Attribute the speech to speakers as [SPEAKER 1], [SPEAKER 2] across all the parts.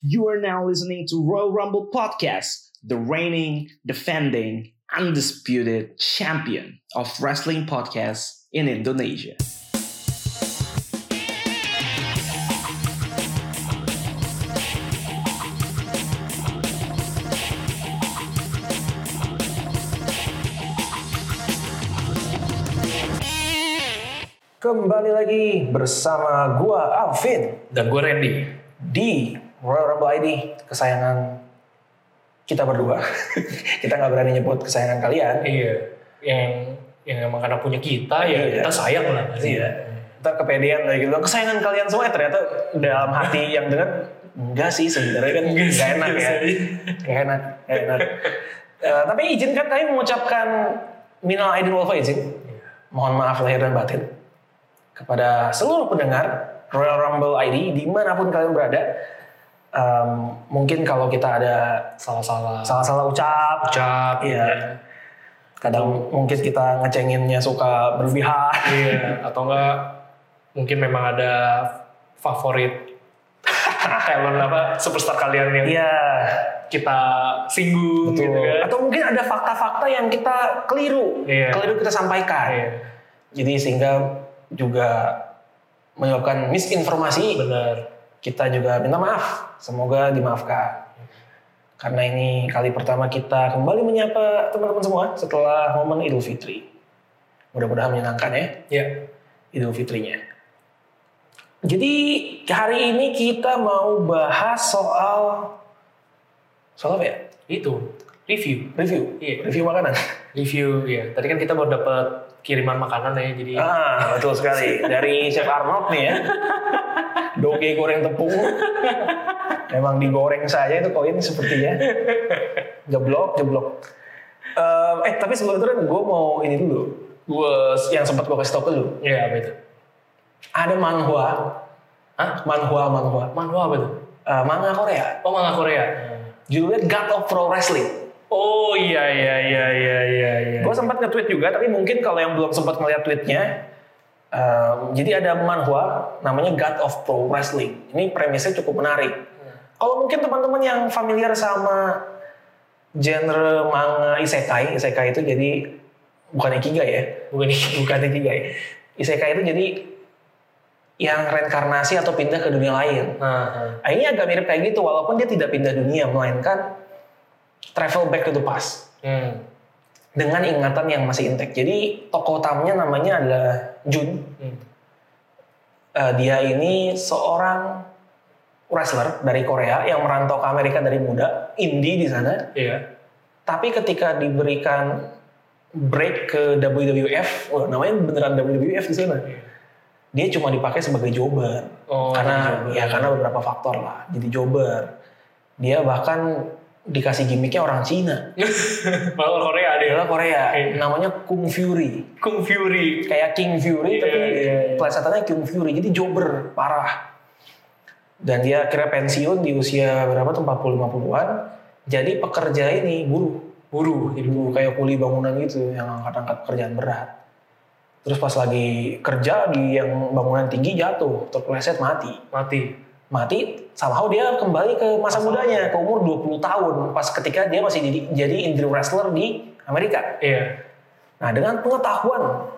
[SPEAKER 1] You are now listening to Royal Rumble Podcast, the reigning, defending, undisputed champion of wrestling podcasts in Indonesia.
[SPEAKER 2] Kembali lagi bersama gua Alvin
[SPEAKER 3] dan gue Randy.
[SPEAKER 2] di Royal Rumble ID kesayangan kita berdua. kita nggak berani nyebut kesayangan kalian.
[SPEAKER 3] Iya, yang yang emang karena punya kita ya
[SPEAKER 2] Iya.
[SPEAKER 3] kita sayang lah. pasti.
[SPEAKER 2] Iya. Ntar kepedean lagi gitu. Kesayangan kalian semua ya ternyata dalam hati yang dengar enggak sih sebenarnya kan
[SPEAKER 3] Enggak sih,
[SPEAKER 2] enggak enak ya.
[SPEAKER 3] enggak sih.
[SPEAKER 2] Enggak enak, enggak enak. Eh, tapi izinkan kami mengucapkan minal aidin wal faizin. Mohon maaf lahir dan batin kepada seluruh pendengar Royal Rumble ID dimanapun kalian berada. Em, mungkin kalau kita ada
[SPEAKER 3] Salah-salah.
[SPEAKER 2] salah-salah ucap,
[SPEAKER 3] Ucap.
[SPEAKER 2] Iya. kadang mungkin kita ngecenginnya suka berlebihan.
[SPEAKER 3] Iya. Atau enggak mungkin memang ada favorit talent apa superstar kalian yang
[SPEAKER 2] Iya,
[SPEAKER 3] kita singgung
[SPEAKER 2] betul.
[SPEAKER 3] gitu kan.
[SPEAKER 2] Atau mungkin ada fakta-fakta yang kita keliru,
[SPEAKER 3] Iya.
[SPEAKER 2] keliru kita sampaikan.
[SPEAKER 3] Iya.
[SPEAKER 2] Jadi sehingga juga menyebabkan misinformasi.
[SPEAKER 3] Benar.
[SPEAKER 2] Kita juga minta maaf, semoga dimaafkan. Karena ini kali pertama kita kembali menyapa teman-teman semua setelah momen Idul Fitri. Mudah-mudahan menyenangkan ya.
[SPEAKER 3] Iya.
[SPEAKER 2] Idul Fitrinya. Jadi hari ini kita mau bahas soal soal apa ya?
[SPEAKER 3] Itu review.
[SPEAKER 2] Review,
[SPEAKER 3] Iya.
[SPEAKER 2] review makanan.
[SPEAKER 3] Review ya. Tadi kan kita baru dapat kiriman makanan ya jadi
[SPEAKER 2] Ah, betul sekali. Dari Chef Arnold nih ya. Doge goreng tepung. Memang digoreng saja itu koin sepertinya. Jeblok, jeblok. Eh, eh tapi sebelum itu kan gue mau ini dulu. Gue yang sempat gue kasih tau ke lu.
[SPEAKER 3] Iya apa itu?
[SPEAKER 2] Ada manhwa.
[SPEAKER 3] Hah?
[SPEAKER 2] Manhwa, manhwa.
[SPEAKER 3] Manhwa apa itu?
[SPEAKER 2] Eh, manga Korea.
[SPEAKER 3] Oh manga Korea?
[SPEAKER 2] Hmm. judulnya God of Pro Wrestling.
[SPEAKER 3] Oh iya iya iya iya iya iya.
[SPEAKER 2] Gue sempat nge-tweet juga, tapi mungkin kalau yang belum sempat ngeliat tweetnya, um, jadi ada manhwa namanya God of Pro Wrestling. Ini premisnya cukup menarik. Kalau mungkin teman-teman yang familiar sama genre manga isekai, isekai itu jadi bukan ikigai ya,
[SPEAKER 3] Bukan
[SPEAKER 2] bukan ikigai. Isekai itu jadi yang reinkarnasi atau pindah ke dunia lain.
[SPEAKER 3] Nah,
[SPEAKER 2] Nah, ini agak mirip kayak gitu, walaupun dia tidak pindah dunia, melainkan travel back to the past.
[SPEAKER 3] hmm.
[SPEAKER 2] dengan ingatan yang masih intek. Jadi tokoh utamanya namanya adalah Jun.
[SPEAKER 3] Hmm.
[SPEAKER 2] Eh, dia ini seorang wrestler dari Korea yang merantau ke Amerika dari muda, indie di sana.
[SPEAKER 3] Iya.
[SPEAKER 2] Tapi ketika diberikan break ke WWF, wah, oh, namanya beneran WWF di sana. Dia cuma dipakai sebagai jobber
[SPEAKER 3] Oh,
[SPEAKER 2] karena ya
[SPEAKER 3] iya.
[SPEAKER 2] karena beberapa faktor lah. Jadi jobber. Dia bahkan dikasih gimmicknya orang Cina.
[SPEAKER 3] Malah Korea dia.
[SPEAKER 2] Dia Korea,
[SPEAKER 3] Iya.
[SPEAKER 2] namanya Kung Fury.
[SPEAKER 3] Kung Fury.
[SPEAKER 2] kayak King Fury
[SPEAKER 3] Iya,
[SPEAKER 2] tapi
[SPEAKER 3] iya, iya.
[SPEAKER 2] pelesetannya King Fury jadi jobber parah dan dia akhirnya pensiun di usia berapa tuh 40-50an jadi pekerja ini buruh
[SPEAKER 3] Buru.
[SPEAKER 2] jadi buruh kayak kuli bangunan gitu yang angkat-angkat pekerjaan berat terus pas lagi kerja di yang bangunan tinggi jatuh terpeleset mati
[SPEAKER 3] Mati.
[SPEAKER 2] mati somehow dia kembali ke masa mudanya ke umur 20 tahun pas ketika dia masih jadi, jadi indie wrestler di Amerika
[SPEAKER 3] Iya.
[SPEAKER 2] Nah dengan pengetahuan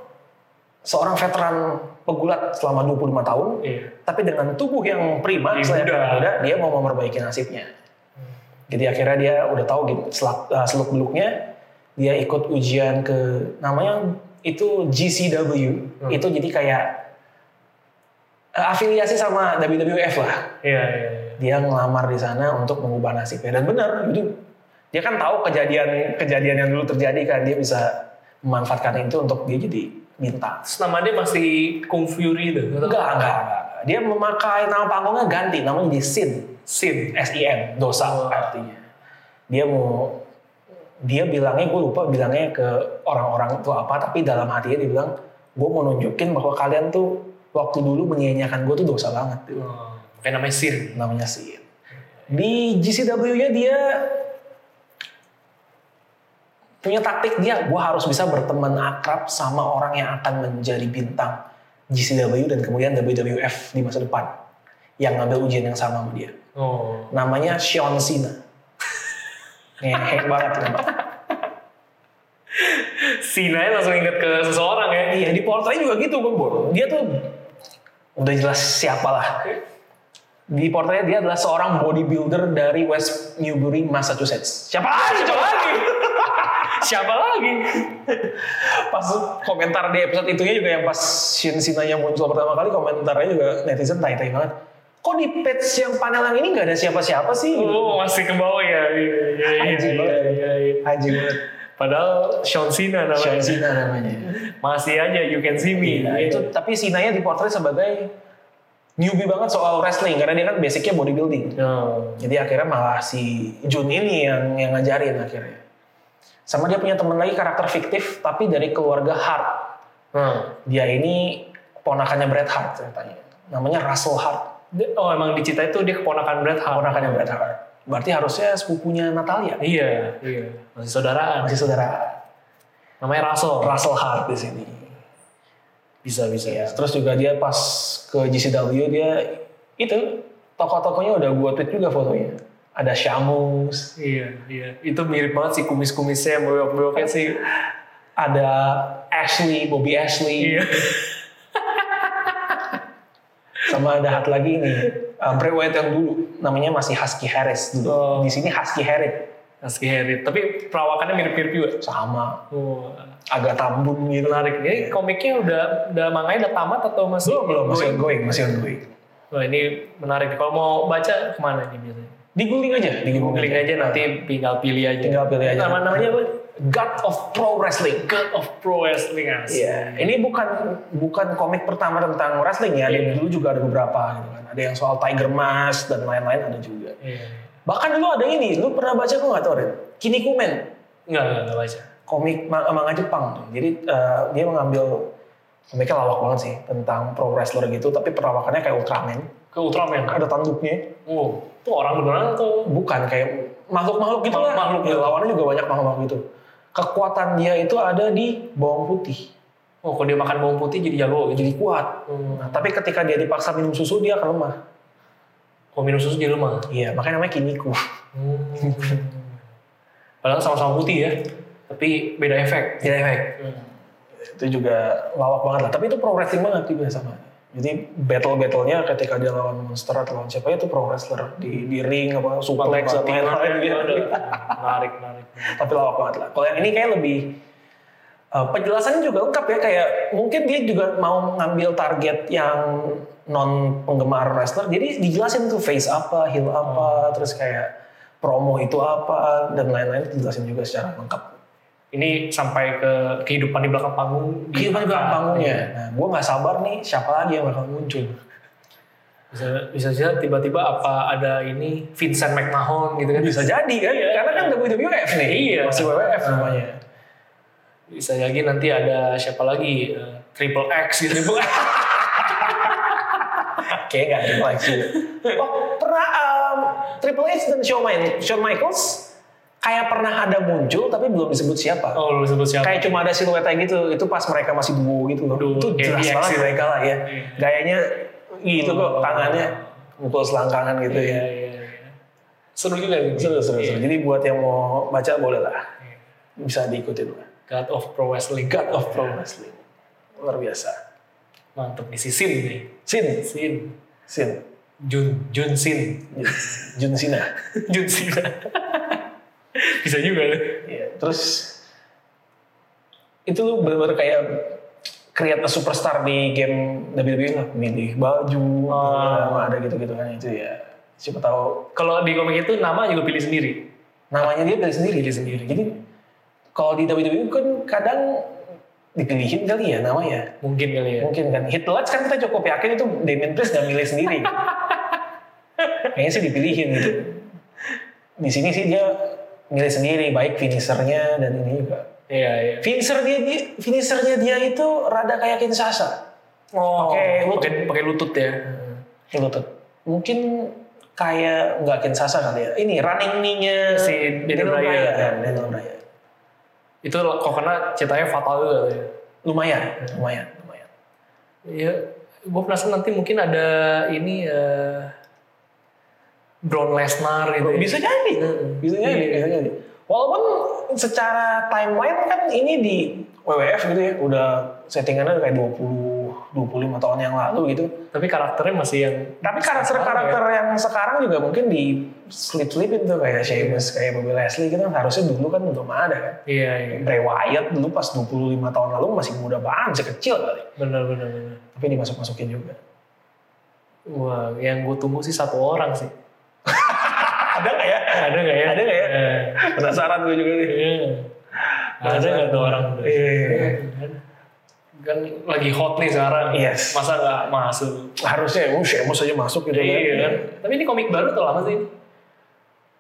[SPEAKER 2] seorang veteran pegulat selama 25 tahun,
[SPEAKER 3] Iya.
[SPEAKER 2] tapi dengan tubuh yang prima,
[SPEAKER 3] Lebih
[SPEAKER 2] selain
[SPEAKER 3] muda.
[SPEAKER 2] muda, dia mau memperbaiki nasibnya. Jadi akhirnya dia udah tahu gitu selak, seluk beluknya, dia ikut ujian ke namanya itu GCW,
[SPEAKER 3] Hmm.
[SPEAKER 2] itu jadi kayak eh, afiliasi sama WWF lah.
[SPEAKER 3] Iya iya. iya.
[SPEAKER 2] Dia ngelamar di sana untuk mengubah nasibnya dan benar, jadi dia kan tahu kejadian kejadian yang dulu terjadi kan dia bisa memanfaatkan itu untuk dia jadi bintang.
[SPEAKER 3] Terus nama dia masih Kung Fury itu.
[SPEAKER 2] Enggak, enggak, enggak. Dia memakai nama panggungnya ganti, namanya di Sin.
[SPEAKER 3] Sin.
[SPEAKER 2] S-I-N, dosa
[SPEAKER 3] Oh.
[SPEAKER 2] artinya. Dia mau, dia bilangnya, gue lupa bilangnya ke orang-orang itu apa, tapi dalam hatinya dia bilang, gue mau nunjukin bahwa kalian tuh waktu dulu menyia-nyiakan gue tuh dosa banget. Dia bilang,
[SPEAKER 3] Oh, Kayak namanya Sin.
[SPEAKER 2] Namanya Sin. Di GCW-nya dia punya taktik dia, gue harus bisa berteman akrab sama orang yang akan menjadi bintang GCW dan kemudian WWF di masa depan yang ngambil ujian yang sama sama dia.
[SPEAKER 3] Oh.
[SPEAKER 2] namanya Sean Sina. Ngehek banget. Pak.
[SPEAKER 3] Sinanya langsung inget ke seseorang ya.
[SPEAKER 2] Iya, di Portrait juga gitu, Bang Bor. Dia tuh udah jelas siapa lah. Di Portrait dia adalah seorang bodybuilder dari West Newbury, Massachusetts. Siapa
[SPEAKER 3] Ah,
[SPEAKER 2] lagi? Siapa lagi?
[SPEAKER 3] Siapa lagi?
[SPEAKER 2] pas komentar di episode itunya juga yang pas Shin Sinanya muncul pertama kali, komentarnya juga netizen tai-tai banget. Kok di page yang panel yang ini nggak ada siapa-siapa sih?
[SPEAKER 3] Oh, masih ke bawah ya. Iya, iya, iya,
[SPEAKER 2] Anjing
[SPEAKER 3] iya,
[SPEAKER 2] banget.
[SPEAKER 3] iya, iya.
[SPEAKER 2] Anjing banget.
[SPEAKER 3] Padahal Sean Sina namanya.
[SPEAKER 2] Sean Sina namanya.
[SPEAKER 3] Iya, Masih aja you can see me.
[SPEAKER 2] Nah, itu tapi Sinanya dipotret sebagai newbie banget soal wrestling karena dia kan basicnya bodybuilding.
[SPEAKER 3] Oh.
[SPEAKER 2] Jadi akhirnya malah si Jun ini yang yang ngajarin akhirnya. Sama dia punya teman lagi karakter fiktif tapi dari keluarga Hart.
[SPEAKER 3] Hmm.
[SPEAKER 2] Dia ini ponakannya Bret Hart ceritanya. Namanya Russell Hart,
[SPEAKER 3] Dia- Oh emang di Cita itu dia keponakan Bret Hart.
[SPEAKER 2] ponakannya Bret Hart. Berarti harusnya sepupunya Natalia,
[SPEAKER 3] Iya, iya. Masih saudaraan.
[SPEAKER 2] masih saudara
[SPEAKER 3] Namanya Russell.
[SPEAKER 2] Russell Hart di sini.
[SPEAKER 3] Bisa, bisa.
[SPEAKER 2] Iya, terus juga dia pas ke GCW dia itu tokoh-tokohnya udah gua tweet juga fotonya. Ada Shamus,
[SPEAKER 3] Iya, iya. Itu mirip banget sih kumis-kumisnya, boyok-boyoknya sih.
[SPEAKER 2] ada Ashley, Bobby Ashley,
[SPEAKER 3] Iya.
[SPEAKER 2] sama ada hat lagi ini. Uh, Bray Wyatt yang dulu namanya masih Husky Harris dulu.
[SPEAKER 3] Oh.
[SPEAKER 2] Di sini Husky Harris
[SPEAKER 3] Husky Harry. Tapi perawakannya mirip-mirip juga.
[SPEAKER 2] sama
[SPEAKER 3] Oh,
[SPEAKER 2] agak tambun gitu.
[SPEAKER 3] menarik. Ini komiknya udah udah manganya udah tamat atau masih?
[SPEAKER 2] Belum belum masih ongoing, masih ongoing.
[SPEAKER 3] Wah, ini menarik. Kalau mau baca kemana ini biasanya?
[SPEAKER 2] Diguling aja, diguling
[SPEAKER 3] Googling aja nanti tinggal pilih aja.
[SPEAKER 2] Tinggal pilih aja.
[SPEAKER 3] Nama namanya apa?
[SPEAKER 2] God of Pro Wrestling.
[SPEAKER 3] God of Pro Wrestling asli.
[SPEAKER 2] Iya, ini bukan bukan komik pertama tentang wrestling ya.
[SPEAKER 3] Iya.
[SPEAKER 2] Ada dulu juga ada beberapa gitu kan. Ada yang soal Tiger Mask dan lain-lain ada juga.
[SPEAKER 3] Iya.
[SPEAKER 2] Bahkan dulu ada ini, lu pernah baca kok nggak tau Ren? Kinnikuman,
[SPEAKER 3] Enggak, enggak, enggak baca.
[SPEAKER 2] komik ma- manga Jepang. tuh. Jadi eh, dia mengambil komiknya lawak banget sih tentang pro wrestler gitu, tapi perawakannya kayak Ultraman.
[SPEAKER 3] Ke Ultraman.
[SPEAKER 2] Ada tanduknya,
[SPEAKER 3] Oh, itu orang beneran atau?
[SPEAKER 2] bukan kayak makhluk-makhluk gitu lah.
[SPEAKER 3] Makhluk-makhluk
[SPEAKER 2] Ya,
[SPEAKER 3] gitu.
[SPEAKER 2] lawannya juga banyak makhluk-makhluk gitu. Kekuatan dia itu ada di bawang putih,
[SPEAKER 3] Oh, kalau dia makan bawang putih jadi jago gitu.
[SPEAKER 2] jadi kuat.
[SPEAKER 3] Hmm.
[SPEAKER 2] Nah, tapi ketika dia dipaksa minum susu dia akan lemah.
[SPEAKER 3] Oh, minum susu jadi lemah.
[SPEAKER 2] Iya, makanya namanya kiniku.
[SPEAKER 3] Hmm. Padahal sama-sama putih ya, tapi beda efek.
[SPEAKER 2] Jadi efek. Iya, Itu juga lawak banget lah. Tapi itu pro wrestling banget juga sama. Jadi battle-battlenya ketika dia lawan monster atau lawan siapa itu pro wrestler di, di ring apa suplex dan lain-lain
[SPEAKER 3] Menarik,
[SPEAKER 2] gitu.
[SPEAKER 3] menarik, menarik.
[SPEAKER 2] Tapi lawak banget lah. Kalau yang ini kayak lebih eh, penjelasannya juga lengkap ya kayak mungkin dia juga mau ngambil target yang non penggemar wrestler. Jadi dijelasin tuh face apa, heel apa, terus kayak promo itu apa dan lain-lain dijelasin juga secara lengkap.
[SPEAKER 3] Ini sampai ke kehidupan di belakang panggung. di-
[SPEAKER 2] kehidupan di belakang
[SPEAKER 3] Iya.
[SPEAKER 2] panggungnya. Iya, Nah, gue nggak sabar nih siapa lagi yang bakal muncul.
[SPEAKER 3] Bisa, bisa bisa tiba-tiba apa ada ini Vincent McMahon gitu kan?
[SPEAKER 2] Bisa jadi kan,
[SPEAKER 3] Iya.
[SPEAKER 2] karena kan WWF nih,
[SPEAKER 3] Iya.
[SPEAKER 2] masih WWF namanya.
[SPEAKER 3] Bisa lagi nanti ada siapa lagi eh, Triple X gitu bu.
[SPEAKER 2] Kayaknya Ah, nggak ada lagi. Oh, pernah um, Triple H dan Shawn, Min- Shawn Michaels kayak pernah ada muncul tapi belum disebut siapa.
[SPEAKER 3] Oh lu sebut siapa?
[SPEAKER 2] Kayak cuma ada siluetnya gitu, itu pas mereka masih duo gitu loh.
[SPEAKER 3] Duo,
[SPEAKER 2] itu jelas
[SPEAKER 3] kayak DX
[SPEAKER 2] banget
[SPEAKER 3] gitu.
[SPEAKER 2] mereka lah ya.
[SPEAKER 3] Iya. Oh.
[SPEAKER 2] Gayanya gitu kok, tangannya mukul selangkangan gitu
[SPEAKER 3] Iya,
[SPEAKER 2] ya.
[SPEAKER 3] iya, iya. Seru juga gitu.
[SPEAKER 2] Seru, seru, seru.
[SPEAKER 3] Iya.
[SPEAKER 2] Jadi buat yang mau baca boleh lah. Bisa diikutin lah.
[SPEAKER 3] God of Pro Wrestling.
[SPEAKER 2] God of Pro Wrestling. Luar biasa.
[SPEAKER 3] Mantep nih si Sin nih.
[SPEAKER 2] Sin,
[SPEAKER 3] Sin.
[SPEAKER 2] Sin,
[SPEAKER 3] Jun Jun Sin.
[SPEAKER 2] Jun Sina.
[SPEAKER 3] Jun Sina. Bisa juga loh.
[SPEAKER 2] Iya, Terus itu lu bener-bener kayak create a superstar di game WWE lah. Milih baju,
[SPEAKER 3] Ah.
[SPEAKER 2] nama, ada gitu-gitu kan itu ya. Siapa tahu
[SPEAKER 3] Kalau di komik itu nama juga pilih sendiri.
[SPEAKER 2] namanya dia pilih sendiri. Pilih sendiri. Jadi kalau di WWE kan kadang dipilihin kali ya namanya.
[SPEAKER 3] Mungkin kali ya.
[SPEAKER 2] Mungkin kan. Hit the Lights kan kita cukup yakin itu Damien Priest nggak milih sendiri. Kayaknya sih dipilihin gitu. Di sini sih dia milih sendiri, baik finishernya dan ini juga.
[SPEAKER 3] Iya, iya.
[SPEAKER 2] Finisher dia, dia finishernya dia itu rada kayak Kinshasa.
[SPEAKER 3] Oh,
[SPEAKER 2] Pakai lutut.
[SPEAKER 3] pakai pakai lutut ya.
[SPEAKER 2] Kayak lutut. Mungkin kayak nggak Kinshasa kali ya. Ini running knee-nya
[SPEAKER 3] Si Daniel Bryan.
[SPEAKER 2] kan, Daniel Bryan.
[SPEAKER 3] Itu kok kena ceritanya fatal juga kali ya.
[SPEAKER 2] Lumayan, lumayan, lumayan.
[SPEAKER 3] Iya, gue penasaran nanti mungkin ada ini eh, Brown Lesnar gitu. ya.
[SPEAKER 2] Bisa jadi.
[SPEAKER 3] Mm-mm.
[SPEAKER 2] Bisa jadi,
[SPEAKER 3] Iya.
[SPEAKER 2] bisa jadi. Walaupun secara timeline kan ini di WWF gitu ya, udah settingannya kayak 20 25 tahun yang lalu gitu.
[SPEAKER 3] Tapi karakternya masih yang
[SPEAKER 2] Tapi karakter-karakter yang sekarang juga mungkin di slip-slipin tuh kayak Sheamus, kayak Bobby Leslie gitu kan harusnya dulu kan belum ada kan.
[SPEAKER 3] Iya, iya.
[SPEAKER 2] Bray Wyatt dulu pas 25 tahun lalu masih muda banget, masih kecil kali.
[SPEAKER 3] Benar, benar, benar.
[SPEAKER 2] Tapi dimasuk-masukin juga.
[SPEAKER 3] Wah, yang gue tunggu sih satu orang sih.
[SPEAKER 2] Ada nggak ya?
[SPEAKER 3] Ada nggak ya?
[SPEAKER 2] Ada nggak ya?
[SPEAKER 3] Eh,
[SPEAKER 2] Penasaran gue juga nih.
[SPEAKER 3] iya. Ada nggak tuh orang?
[SPEAKER 2] Iya, iya, iya.
[SPEAKER 3] Kan, kan lagi hot nih sekarang.
[SPEAKER 2] Yes.
[SPEAKER 3] Masa nggak masuk?
[SPEAKER 2] Harusnya oh, Sheamus aja masuk gitu
[SPEAKER 3] Iya,
[SPEAKER 2] kan.
[SPEAKER 3] kan? Tapi ini komik baru tuh lama sih.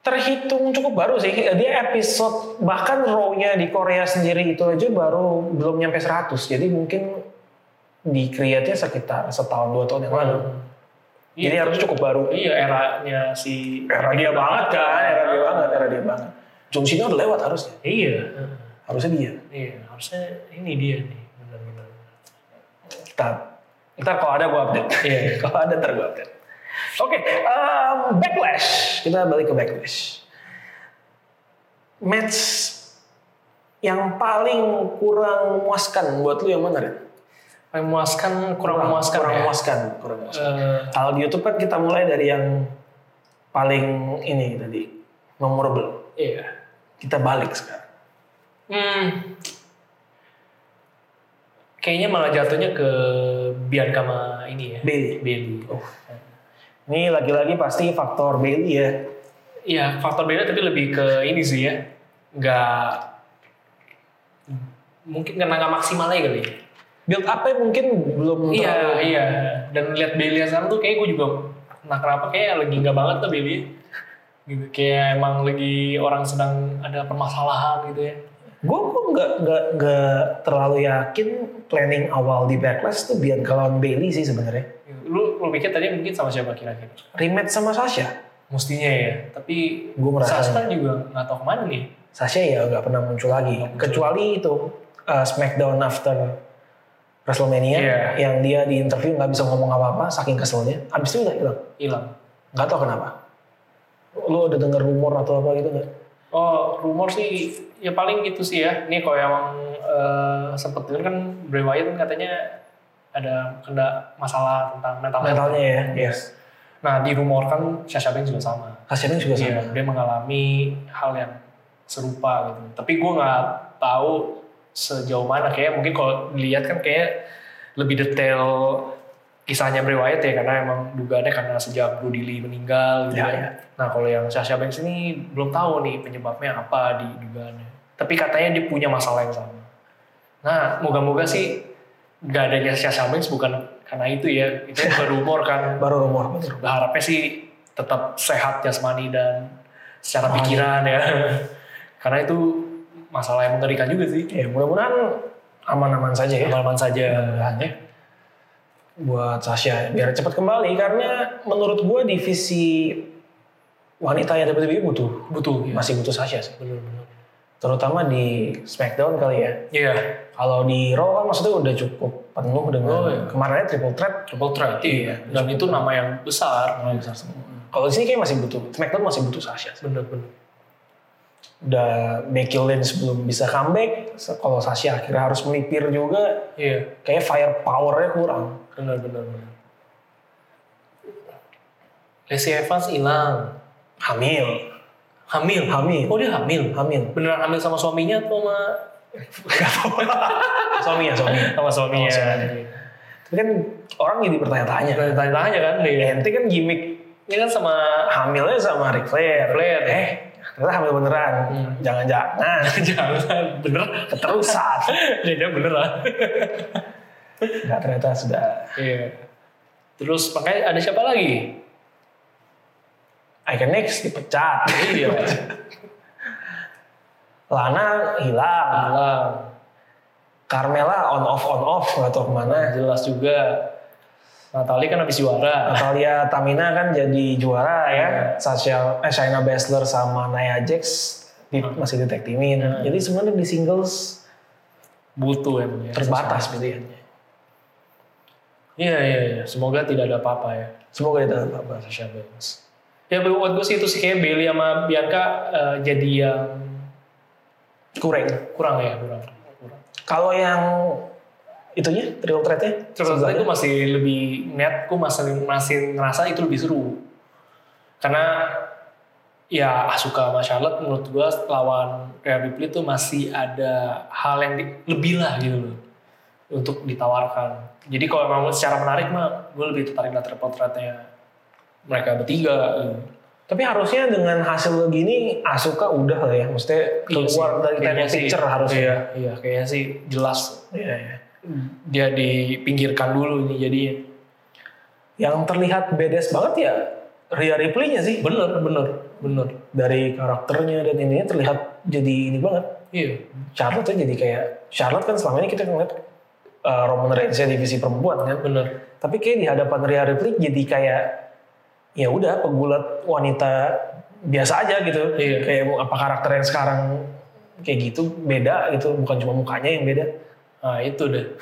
[SPEAKER 2] terhitung cukup baru sih. Eh, Dia episode bahkan row-nya di Korea sendiri itu aja baru belum nyampe 100. Jadi mungkin di create-nya sekitar setahun dua tahun yang lalu. Jadi
[SPEAKER 3] Iya.
[SPEAKER 2] harusnya cukup baru.
[SPEAKER 3] Iya, eranya si...
[SPEAKER 2] Era dia banget kan, era dia banget, era dia banget. John Cena udah lewat harusnya.
[SPEAKER 3] Iya.
[SPEAKER 2] Harusnya dia.
[SPEAKER 3] Iya, harusnya ini dia nih. Benar-benar.
[SPEAKER 2] Kita ntar kalau ada gua update.
[SPEAKER 3] Iya.
[SPEAKER 2] kalau ada ntar gua update. Oke, em, backlash. Kita balik ke backlash. Match yang paling kurang memuaskan buat lu yang mana, Ren?
[SPEAKER 3] Paling memuaskan, kurang memuaskan
[SPEAKER 2] kurang
[SPEAKER 3] ya?
[SPEAKER 2] memuaskan kurang memuaskan
[SPEAKER 3] Eh,
[SPEAKER 2] kalau di YouTube kan kita mulai dari yang paling ini tadi memorable
[SPEAKER 3] iya.
[SPEAKER 2] kita balik sekarang
[SPEAKER 3] Hmm. Kayaknya malah jatuhnya ke Bianca sama ini ya.
[SPEAKER 2] Bailey Oh.
[SPEAKER 3] Bailey.
[SPEAKER 2] ini lagi-lagi pasti faktor Bailey ya
[SPEAKER 3] Iya, faktor beda tapi lebih ke ini sih ya. Nggak mungkin karena nggak maksimal aja kali. ya.
[SPEAKER 2] build up mungkin belum
[SPEAKER 3] Iya,
[SPEAKER 2] terlalu-
[SPEAKER 3] iya. Dan lihat Bailey sekarang tuh kayak gue juga nah kenapa kayak lagi nggak banget tuh Bailey. Gitu. Kayak emang lagi orang sedang ada permasalahan gitu ya.
[SPEAKER 2] gue kok nggak nggak nggak terlalu yakin planning awal di backlash tuh Bianca lawan Bailey sih sebenarnya
[SPEAKER 3] Gitu. Lu lu pikir tadi mungkin sama siapa kira-kira?
[SPEAKER 2] rematch sama Sasha
[SPEAKER 3] Mestinya ya, tapi
[SPEAKER 2] gue merasa
[SPEAKER 3] Sasha juga nggak tahu kemana nih.
[SPEAKER 2] Sasha ya nggak pernah muncul lagi
[SPEAKER 3] Nggak muncul.
[SPEAKER 2] kecuali itu uh, Smackdown after WrestleMania
[SPEAKER 3] Iya.
[SPEAKER 2] yang dia di interview nggak bisa ngomong apa-apa saking keselnya abis itu udah hilang
[SPEAKER 3] Hilang.
[SPEAKER 2] nggak tahu kenapa lo udah dengar rumor atau apa gitu nggak
[SPEAKER 3] Oh, rumor sih ya paling gitu sih ya. Ini kalau yang eh, sempet denger kan Bray Wyatt katanya ada kena masalah tentang mental health.
[SPEAKER 2] mentalnya ya yes
[SPEAKER 3] Nah, dirumorkan Sasha Banks juga sama.
[SPEAKER 2] Sasha Banks juga
[SPEAKER 3] Iya,
[SPEAKER 2] sama
[SPEAKER 3] dia mengalami hal yang serupa gitu. Tapi gue nggak tahu sejauh mana kayak mungkin kalau dilihat kan kayak lebih detail kisahnya Bray Wyatt ya karena emang dugaannya karena sejak Brody Lee meninggal gitu
[SPEAKER 2] Ya,
[SPEAKER 3] kan.
[SPEAKER 2] ya.
[SPEAKER 3] Nah kalau yang Sasha Banks ini belum tahu nih penyebabnya apa di dugaannya. Tapi katanya dia punya masalah yang sama. Nah moga-moga sih nggak adanya Sasha Banks bukan karena itu ya. Itu baru rumor kan
[SPEAKER 2] baru rumor bener.
[SPEAKER 3] berharapnya Nah, sih tetap sehat jasmani dan secara pikiran ya karena itu masalah yang mengerikan juga sih
[SPEAKER 2] ya mudah-mudahan aman-aman saja ya
[SPEAKER 3] aman-aman saja ya.
[SPEAKER 2] buat Sasha biar cepat kembali karena menurut gue divisi wanita yang WWE butuh
[SPEAKER 3] butuh ya.
[SPEAKER 2] masih butuh Sasha sih
[SPEAKER 3] benar-benar
[SPEAKER 2] terutama di Smackdown kali ya
[SPEAKER 3] iya
[SPEAKER 2] Kalau di Raw kan maksudnya udah cukup penuh dengan
[SPEAKER 3] Oh, iya.
[SPEAKER 2] kemarinnya triple threat.
[SPEAKER 3] triple threat
[SPEAKER 2] Iya.
[SPEAKER 3] dan itu nama yang besar
[SPEAKER 2] Nah, besar semua. Kalau di sini kayak masih butuh, SmackDown masih butuh Sasha. sih.
[SPEAKER 3] bener-bener
[SPEAKER 2] Udah Becky Lynch belum bisa comeback, se- kalau Sasha akhirnya harus melipir juga,
[SPEAKER 3] iya
[SPEAKER 2] kayak firepower-nya kurang.
[SPEAKER 3] bener-bener Lacey Evans hilang
[SPEAKER 2] Hamil,
[SPEAKER 3] hamil
[SPEAKER 2] Hamil.
[SPEAKER 3] oh dia hamil
[SPEAKER 2] hamil.
[SPEAKER 3] beneran hamil sama suaminya atau sama
[SPEAKER 2] Suami ya suami.
[SPEAKER 3] sama suaminya,
[SPEAKER 2] Sama Tapi kan orang jadi bertanya-tanya.
[SPEAKER 3] tanya-tanya kan dia
[SPEAKER 2] Ente kan gimmick
[SPEAKER 3] ini kan sama ya.
[SPEAKER 2] hamilnya sama Ric Flair.
[SPEAKER 3] Ric Flair.
[SPEAKER 2] Eh, ternyata hamil beneran.
[SPEAKER 3] Hmm.
[SPEAKER 2] Jangan-jangan.
[SPEAKER 3] jangan bener
[SPEAKER 2] Keterusan.
[SPEAKER 3] ya dia beneran
[SPEAKER 2] Enggak, ternyata sudah.
[SPEAKER 3] iya terus makanya ada siapa lagi
[SPEAKER 2] Icon X dipecat.
[SPEAKER 3] iya
[SPEAKER 2] Lana hilang.
[SPEAKER 3] hilang
[SPEAKER 2] Carmela on off on off nggak tahu kemana.
[SPEAKER 3] jelas juga Natali kan habis juara
[SPEAKER 2] Natalia Tamina kan jadi juara
[SPEAKER 3] Iya.
[SPEAKER 2] ya. Sasha, eh, Shayna Baszler sama Nia Jax di- masih di tag teamin.
[SPEAKER 3] Hmm.
[SPEAKER 2] Jadi sebenarnya di singles
[SPEAKER 3] butuh emang ya
[SPEAKER 2] terbatas pilihannya.
[SPEAKER 3] iya iya iya semoga tidak ada apa-apa ya
[SPEAKER 2] Semoga itu apa
[SPEAKER 3] Sasha Banks ya buat gue sih itu sih kayak Bailey sama Bianca eh, jadi yang
[SPEAKER 2] Kurang.
[SPEAKER 3] kurang ya kurang. kurang.
[SPEAKER 2] Kalau yang itunya triple threat-nya?
[SPEAKER 3] Terus gue masih lebih net, gue masih masih ngerasa itu lebih seru karena ya Asuka sama Charlotte menurut gue lawan Rhea Ripley itu masih ada hal yang di- lebih lah gitu loh untuk ditawarkan. Jadi kalau memang secara menarik mah gue lebih tertarik lihat triple threat-nya mereka bertiga. gitu.
[SPEAKER 2] Tapi harusnya dengan hasil gini Asuka udah lah ya, maksudnya
[SPEAKER 3] Iya sih,
[SPEAKER 2] keluar dari
[SPEAKER 3] kayaknya
[SPEAKER 2] title
[SPEAKER 3] sih.
[SPEAKER 2] picture harusnya.
[SPEAKER 3] Iya, iya kayaknya sih jelas
[SPEAKER 2] Iya, iya.
[SPEAKER 3] dia dipinggirkan dulu ini jadinya.
[SPEAKER 2] Yang terlihat bedes banget ya Rhea Ripley-nya sih.
[SPEAKER 3] Bener, bener, bener.
[SPEAKER 2] Dari karakternya dan ininya terlihat jadi ini banget.
[SPEAKER 3] Iya.
[SPEAKER 2] Charlotte jadi kayak Charlotte kan selama ini kita ngeliat uh, Roman Reigns divisi perempuan kan.
[SPEAKER 3] Bener.
[SPEAKER 2] Tapi kayak di hadapan Rhea Ripley jadi kayak ya udah pegulat wanita biasa aja gitu.
[SPEAKER 3] Iya.
[SPEAKER 2] Kayak apa karakter yang sekarang kayak gitu beda gitu, bukan cuma mukanya yang beda.
[SPEAKER 3] Nah itu deh.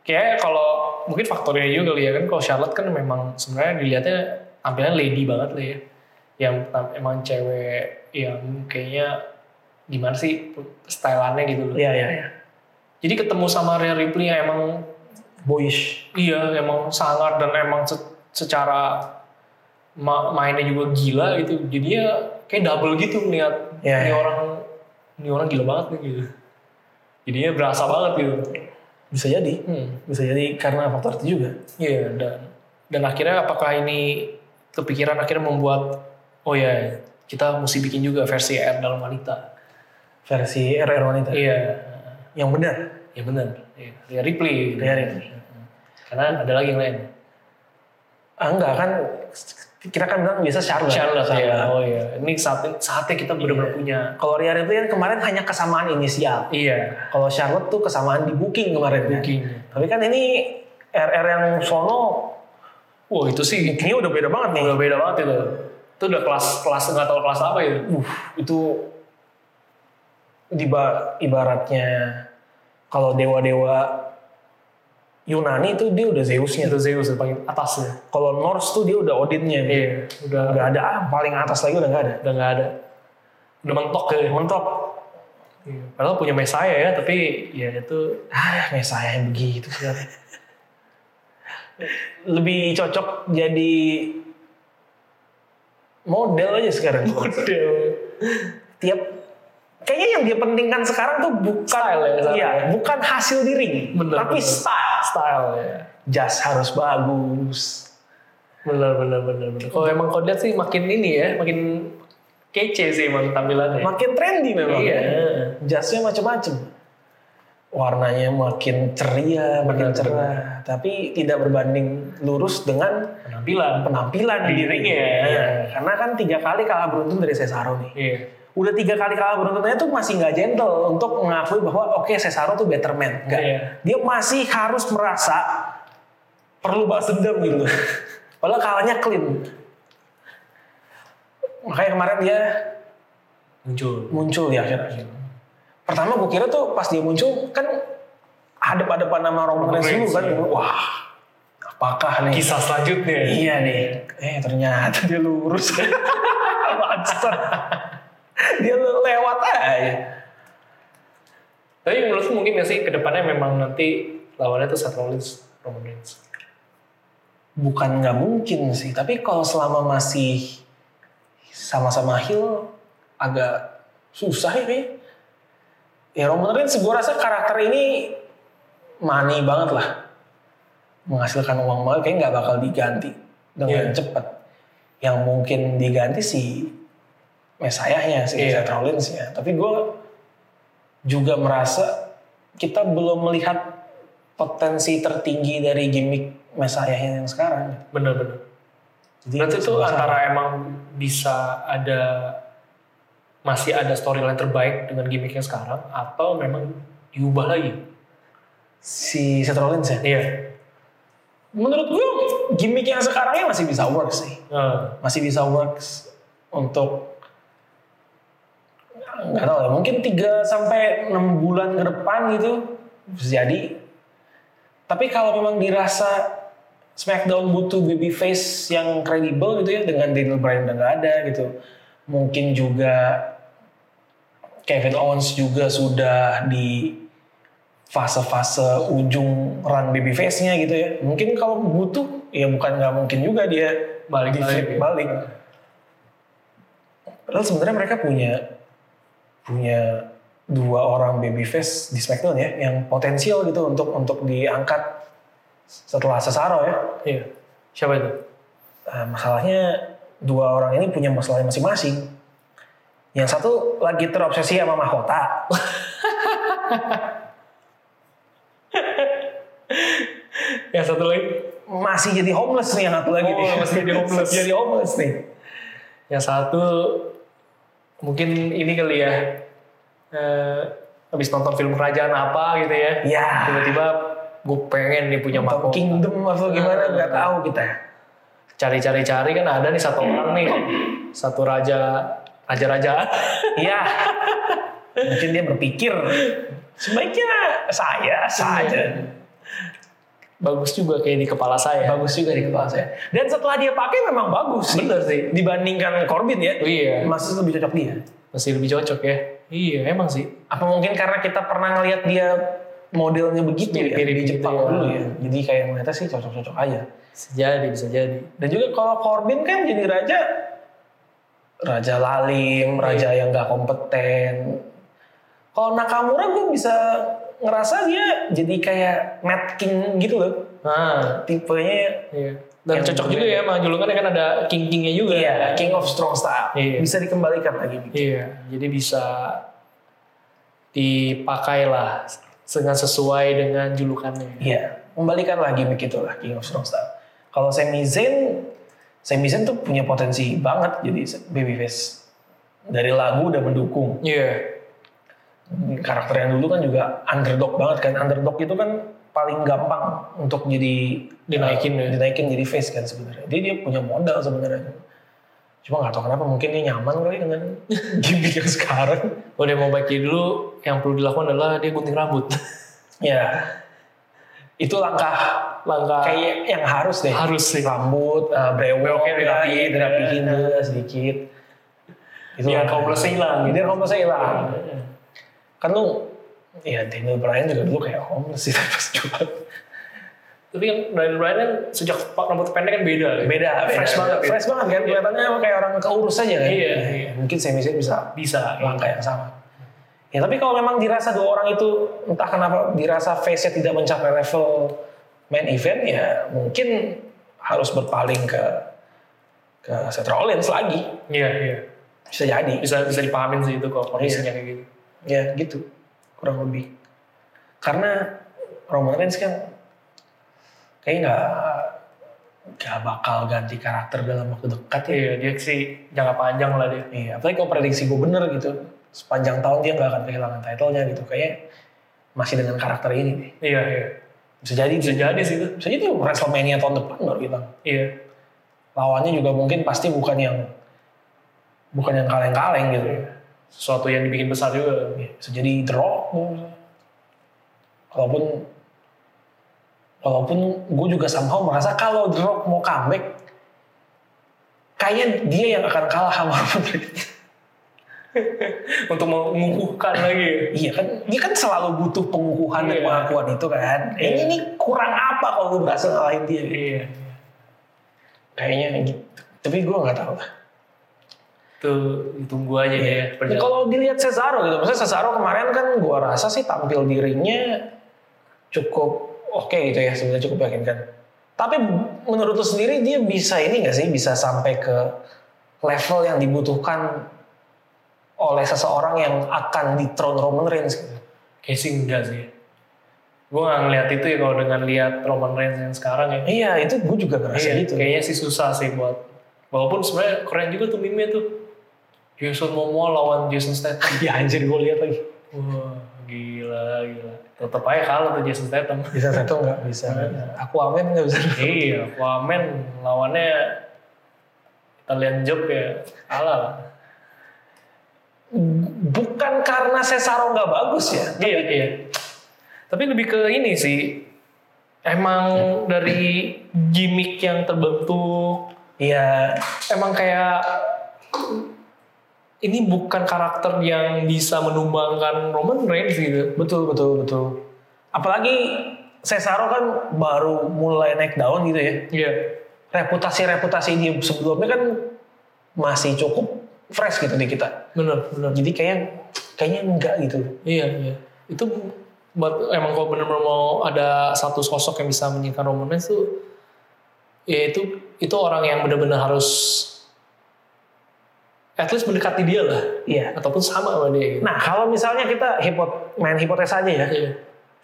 [SPEAKER 3] Kayaknya kalau mungkin faktornya juga kali ya kan kalau Charlotte kan memang sebenarnya dilihatnya tampilan lady banget lah ya. Yang tam- emang cewek yang kayaknya gimana sih stylannya gitu loh.
[SPEAKER 2] Iya, iya, iya.
[SPEAKER 3] Jadi ketemu sama Rhea Ripley yang emang
[SPEAKER 2] Boyish.
[SPEAKER 3] Iya, emang sangar dan emang se- secara ma- mainnya juga gila gitu. Jadinya kayak double gitu melihat
[SPEAKER 2] Iya,
[SPEAKER 3] ini
[SPEAKER 2] iya.
[SPEAKER 3] orang ini orang gila banget nih gitu. Jadinya berasa banget gitu.
[SPEAKER 2] Bisa jadi.
[SPEAKER 3] Hmm,
[SPEAKER 2] Bisa jadi karena faktor itu juga.
[SPEAKER 3] iya dan dan akhirnya apakah ini kepikiran akhirnya membuat oh ya kita mesti bikin juga versi air dalam wanita.
[SPEAKER 2] Versi RR wanita.
[SPEAKER 3] Iya,
[SPEAKER 2] Yang benar.
[SPEAKER 3] ya benar. Iya, Rhea Ripley.
[SPEAKER 2] Rhea Ripley.
[SPEAKER 3] Karena ada lagi yang lain.
[SPEAKER 2] Ah, enggak kan kita kan bilang biasa Charlotte.
[SPEAKER 3] Charlotte, ya. Oh iya. Ini saatnya, saatnya kita benar-benar punya
[SPEAKER 2] Kalau Rhea Ripley kan kemarin hanya kesamaan inisial.
[SPEAKER 3] Iya,
[SPEAKER 2] Kalau Charlotte tuh kesamaan di booking kemarin. ya.
[SPEAKER 3] booking.
[SPEAKER 2] Tapi kan ini RR yang sono
[SPEAKER 3] Wah itu sih
[SPEAKER 2] ini udah beda banget nih.
[SPEAKER 3] udah beda banget itu. Itu udah kelas kelas nggak tahu kelas apa ya. itu.
[SPEAKER 2] Uh, itu diba ibaratnya kalau dewa-dewa Yunani itu dia udah Zeusnya.
[SPEAKER 3] Itu Zeus yang paling atasnya.
[SPEAKER 2] Kalau Norse tuh dia udah Odinnya.
[SPEAKER 3] Iya, udah
[SPEAKER 2] Nggak ada ah, paling atas lagi udah nggak ada.
[SPEAKER 3] udah nggak ada. Udah mentok ya.
[SPEAKER 2] Mentok.
[SPEAKER 3] Iya. Padahal punya Messiah ya, tapi ya itu
[SPEAKER 2] Ah, kayak saya yang begitu sekarang. Lebih cocok jadi model aja sekarang.
[SPEAKER 3] model.
[SPEAKER 2] Tiap kayaknya yang dia pentingkan sekarang tuh bukan
[SPEAKER 3] Style ya, sekarang
[SPEAKER 2] iya,
[SPEAKER 3] ya.
[SPEAKER 2] bukan hasil di ring,
[SPEAKER 3] Bener,
[SPEAKER 2] tapi
[SPEAKER 3] bener.
[SPEAKER 2] style.
[SPEAKER 3] Style ya.
[SPEAKER 2] Jas harus bagus.
[SPEAKER 3] Bener bener bener bener. Kalau emang kau lihat sih makin ini ya, makin kece sih emang tampilannya.
[SPEAKER 2] Makin trendy memang.
[SPEAKER 3] Iya.
[SPEAKER 2] Jasnya macam-macam. Warnanya makin ceria, makin
[SPEAKER 3] Bener,
[SPEAKER 2] cerah, tapi tidak berbanding lurus dengan
[SPEAKER 3] Penampilan.
[SPEAKER 2] penampilan
[SPEAKER 3] Di
[SPEAKER 2] di
[SPEAKER 3] ring
[SPEAKER 2] ring
[SPEAKER 3] ya.
[SPEAKER 2] Karena kan tiga kali kalah beruntun dari Cesaro nih.
[SPEAKER 3] Iya.
[SPEAKER 2] Udah tiga kali kalah beruntunnya tuh masih nggak gentle untuk mengakui bahwa oke Cesaro tuh better man. Nggak.
[SPEAKER 3] Iya.
[SPEAKER 2] Dia masih harus merasa perlu balas dendam gitu. Padahal kalahnya clean. Makanya kemarin dia
[SPEAKER 3] Muncul.
[SPEAKER 2] muncul di akhir-akhir. Pertama gue kira tuh pas dia muncul kan hadap-hadapan sama Roman Reigns dulu kan.
[SPEAKER 3] Reigns, iya.
[SPEAKER 2] Wah, apakah nih?
[SPEAKER 3] Kisah selanjutnya.
[SPEAKER 2] Iya nih. Eh ternyata dia lurus. Bangsat. dia lewat aja.
[SPEAKER 3] Tapi menurut lu mungkin gak sih kedepannya memang nanti lawannya tuh Seth Rollins, Roman Reigns.
[SPEAKER 2] Bukan nggak mungkin sih, tapi kalau selama masih sama-sama heel agak susah ya kayaknya. Ya Roman Reigns gue rasa karakter ini money banget lah. Menghasilkan uang banget kayaknya nggak bakal diganti dengan
[SPEAKER 3] Iya.
[SPEAKER 2] cepat. Yang mungkin diganti si mesayahnya si
[SPEAKER 3] Iya.
[SPEAKER 2] Seth Rollins ya. Tapi gue juga merasa kita belum melihat potensi tertinggi dari gimmick mesayahnya yang sekarang.
[SPEAKER 3] Bener-bener.
[SPEAKER 2] Jadi
[SPEAKER 3] Berarti itu
[SPEAKER 2] sebesar-
[SPEAKER 3] antara emang bisa ada masih ada storyline terbaik dengan gimmicknya sekarang atau memang diubah lagi?
[SPEAKER 2] si Seth Rollins ya.
[SPEAKER 3] Iya.
[SPEAKER 2] Menurut gue gimmick yang sekarangnya masih bisa work sih.
[SPEAKER 3] Eh,
[SPEAKER 2] Masih bisa works untuk nggak tahu ya mungkin 3 sampai 6 bulan ke depan gitu bisa jadi tapi kalau memang dirasa Smackdown butuh babyface yang kredibel gitu ya dengan Daniel Bryan udah nggak ada gitu. Mungkin juga Kevin Owens juga sudah di fase-fase ujung run babyface-nya gitu ya. Mungkin kalau butuh ya bukan nggak mungkin juga dia
[SPEAKER 3] Balik-balik
[SPEAKER 2] di flip
[SPEAKER 3] ya.
[SPEAKER 2] balik. Padahal sebenarnya mereka punya punya dua orang babyface di SmackDown ya yang potensial gitu untuk untuk diangkat setelah Cesaro ya.
[SPEAKER 3] Iya. Siapa itu?
[SPEAKER 2] Nah, masalahnya dua orang ini punya masalahnya masing-masing. Yang satu lagi terobsesi sama mahkota.
[SPEAKER 3] Yang satu lagi.
[SPEAKER 2] Masih jadi homeless nih yang satu lagi
[SPEAKER 3] Oh,
[SPEAKER 2] nih.
[SPEAKER 3] masih jadi homeless.
[SPEAKER 2] jadi homeless nih.
[SPEAKER 3] Yang satu mungkin ini kali ya. Eh, habis nonton film kerajaan apa gitu ya.
[SPEAKER 2] Ya.
[SPEAKER 3] Tiba-tiba gue pengen nih punya
[SPEAKER 2] Tom
[SPEAKER 3] mahkota. Ah.
[SPEAKER 2] Kingdom atau gimana nggak tahu kita.
[SPEAKER 3] Cari-cari-cari kan ada nih satu orang nih. Satu raja raja-rajaan.
[SPEAKER 2] Iya. Mungkin dia berpikir sebaiknya saya saja.
[SPEAKER 3] Bagus juga kayak di kepala saya.
[SPEAKER 2] Bagus juga di kepala saya. Dan setelah dia pakai memang bagus sih.
[SPEAKER 3] Bener sih.
[SPEAKER 2] Dibandingkan Corbin ya.
[SPEAKER 3] Iya.
[SPEAKER 2] Masih lebih cocok dia.
[SPEAKER 3] Masih lebih cocok ya. Iya, emang sih.
[SPEAKER 2] apa mungkin karena kita pernah ngelihat dia modelnya begitu ya
[SPEAKER 3] Mirip-mirip
[SPEAKER 2] di
[SPEAKER 3] gitu
[SPEAKER 2] Jepang
[SPEAKER 3] ya.
[SPEAKER 2] dulu ya jadi kayak ngeliatnya sih cocok-cocok aja
[SPEAKER 3] Bisa jadi, bisa jadi.
[SPEAKER 2] dan juga kalau Corbin kan jadi raja raja lalim raja yang gak kompeten kalau Nakamura gue bisa ngerasa dia jadi kayak Mad King gitu loh
[SPEAKER 3] Nah,
[SPEAKER 2] tipenya
[SPEAKER 3] iya. Dan
[SPEAKER 2] Yang
[SPEAKER 3] cocok juga
[SPEAKER 2] berbeda.
[SPEAKER 3] ya sama julukannya kan ada king-kingnya juga.
[SPEAKER 2] iya King of Strong Style
[SPEAKER 3] Iya.
[SPEAKER 2] bisa dikembalikan lagi
[SPEAKER 3] Iya, jadi bisa dipakai lah dengan sesuai dengan julukannya.
[SPEAKER 2] Iya, membalikan lagi begitu lah King of Strong Style. Kalau Sami Zayn, Sami Zayn tuh punya potensi banget jadi babyface. Dari lagu udah mendukung.
[SPEAKER 3] Iya,
[SPEAKER 2] Karakter yang dulu kan juga underdog banget kan. Underdog itu kan paling gampang untuk jadi eh,
[SPEAKER 3] Dinaikin ya.
[SPEAKER 2] dinaikin jadi face kan sebenarnya. Dia dia punya modal sebenarnya. Cuma nggak tahu kenapa mungkin dia nyaman kali dengan gimmick yang sekarang.
[SPEAKER 3] udah mau bagi dulu yang perlu dilakukan adalah dia gunting rambut.
[SPEAKER 2] Ya, itu langkah
[SPEAKER 3] Langkah
[SPEAKER 2] kayak gitu. yang harus deh.
[SPEAKER 3] harus sih.
[SPEAKER 2] rambut uh, brewok
[SPEAKER 3] Brewoknya
[SPEAKER 2] ya,
[SPEAKER 3] dirapiin,
[SPEAKER 2] iya, dirapiin
[SPEAKER 3] ya.
[SPEAKER 2] dulu sedikit itu lah.
[SPEAKER 3] Biar komplesnya hilang, gitu.
[SPEAKER 2] biar komplesnya hilang kan lu ya Daniel Bryan juga dulu kayak homeless sih pas jual
[SPEAKER 3] Tapi kan Brian Brian kan sejak rambut pendek kan beda. ya.
[SPEAKER 2] beda
[SPEAKER 3] fresh banget. ya.
[SPEAKER 2] fresh banget kan kelihatannya emang kayak orang keurus aja kan
[SPEAKER 3] Iya,
[SPEAKER 2] Ya,
[SPEAKER 3] iya.
[SPEAKER 2] mungkin Sami Zayn bisa
[SPEAKER 3] Bisa.
[SPEAKER 2] langkah yang sama ya tapi kalau memang dirasa dua orang itu entah kenapa dirasa face-nya tidak mencapai level main event ya mungkin harus berpaling ke ke Seth Rollins lagi
[SPEAKER 3] Iya, iya.
[SPEAKER 2] bisa jadi
[SPEAKER 3] Bisa bisa dipahamin sih itu
[SPEAKER 2] Iya.
[SPEAKER 3] kalau kondisinya kayak gitu.
[SPEAKER 2] ya gitu kurang lebih karena Roman Reigns kan kayaknya nggak nggak bakal ganti karakter dalam waktu dekat ya
[SPEAKER 3] Iya, dia sih jangka panjang lah dia.
[SPEAKER 2] iya apalagi kalau prediksi gue bener gitu sepanjang tahun dia nggak akan kehilangan titlenya gitu kayaknya masih dengan karakter ini nih
[SPEAKER 3] Iya, iya.
[SPEAKER 2] bisa jadi
[SPEAKER 3] Bisa jadi sih itu.
[SPEAKER 2] bisa jadi Wrestlemania tahun depan baru hilang
[SPEAKER 3] Iya.
[SPEAKER 2] lawannya juga mungkin pasti bukan yang bukan yang kaleng-kaleng gitu
[SPEAKER 3] Sesuatu yang dibikin besar juga.
[SPEAKER 2] Ya, bisa jadi The Rock gua misalnya. walaupun walaupun gue juga somehow merasa kalau The Rock mau comeback kayaknya dia yang akan kalah sama Roman Reigns
[SPEAKER 3] Untuk mengukuhkan lagi. ya.
[SPEAKER 2] iya kan dia kan selalu butuh pengukuhan dan
[SPEAKER 3] Iya.
[SPEAKER 2] pengakuan itu kan Eh,
[SPEAKER 3] Iya.
[SPEAKER 2] ini kurang apa kalau lu berhasil ngalahin dia
[SPEAKER 3] Iya.
[SPEAKER 2] kayaknya gitu tapi gue nggak tahu lah
[SPEAKER 3] Itu ditunggu aja ya.
[SPEAKER 2] Ya,
[SPEAKER 3] Perjalanan.
[SPEAKER 2] kalau dilihat Cesaro gitu, maksudnya Cesaro kemarin kan gua rasa sih tampil di ringnya cukup oke gitu ya, sebenarnya cukup meyakinkan. Tapi menurut lu sendiri dia bisa ini gak sih, bisa sampai ke level yang dibutuhkan oleh seseorang yang akan ditron Roman Reigns gitu.
[SPEAKER 3] Kayaknya sih enggak sih. Gue gak ngeliat itu ya kalau dengan lihat Roman Reigns yang sekarang ya.
[SPEAKER 2] Iya itu gue juga ngerasa
[SPEAKER 3] Iya,
[SPEAKER 2] gitu.
[SPEAKER 3] kayaknya sih susah sih buat. Walaupun sebenarnya keren juga tuh meme-nya tuh. Jason Momoa lawan Jason Statham.
[SPEAKER 2] Ya anjir gue lihat lagi.
[SPEAKER 3] Wah, gila, gila. Tetep aja kalah tuh Jason Statham.
[SPEAKER 2] Bisa satu nggak bisa. Aku amin nggak bisa.
[SPEAKER 3] iya, Aquaman lawannya Italian Job ya. Kalah lah.
[SPEAKER 2] Bukan karena Cesaro nggak bagus ya.
[SPEAKER 3] Iya, iya. Tapi lebih ke ini sih emang dari gimmick yang terbentuk
[SPEAKER 2] Iya,
[SPEAKER 3] emang kayak ini bukan karakter yang bisa menumbangkan Roman Reigns gitu
[SPEAKER 2] betul betul betul. Apalagi Cesaro kan baru mulai naik daun gitu ya.
[SPEAKER 3] iya
[SPEAKER 2] Reputasi-reputasi dia sebelumnya kan masih cukup fresh gitu di kita.
[SPEAKER 3] bener bener
[SPEAKER 2] Jadi kayaknya kayaknya enggak gitu.
[SPEAKER 3] iya iya itu buat emang kalau bener-bener mau ada satu sosok yang bisa menyingkirkan Roman Reigns tuh ya itu itu orang yang bener-bener harus at least mendekati dia lah
[SPEAKER 2] Iya.
[SPEAKER 3] ataupun sama sama dia gitu
[SPEAKER 2] Nah, kalau misalnya kita hipot main hipotesa aja ya.
[SPEAKER 3] iya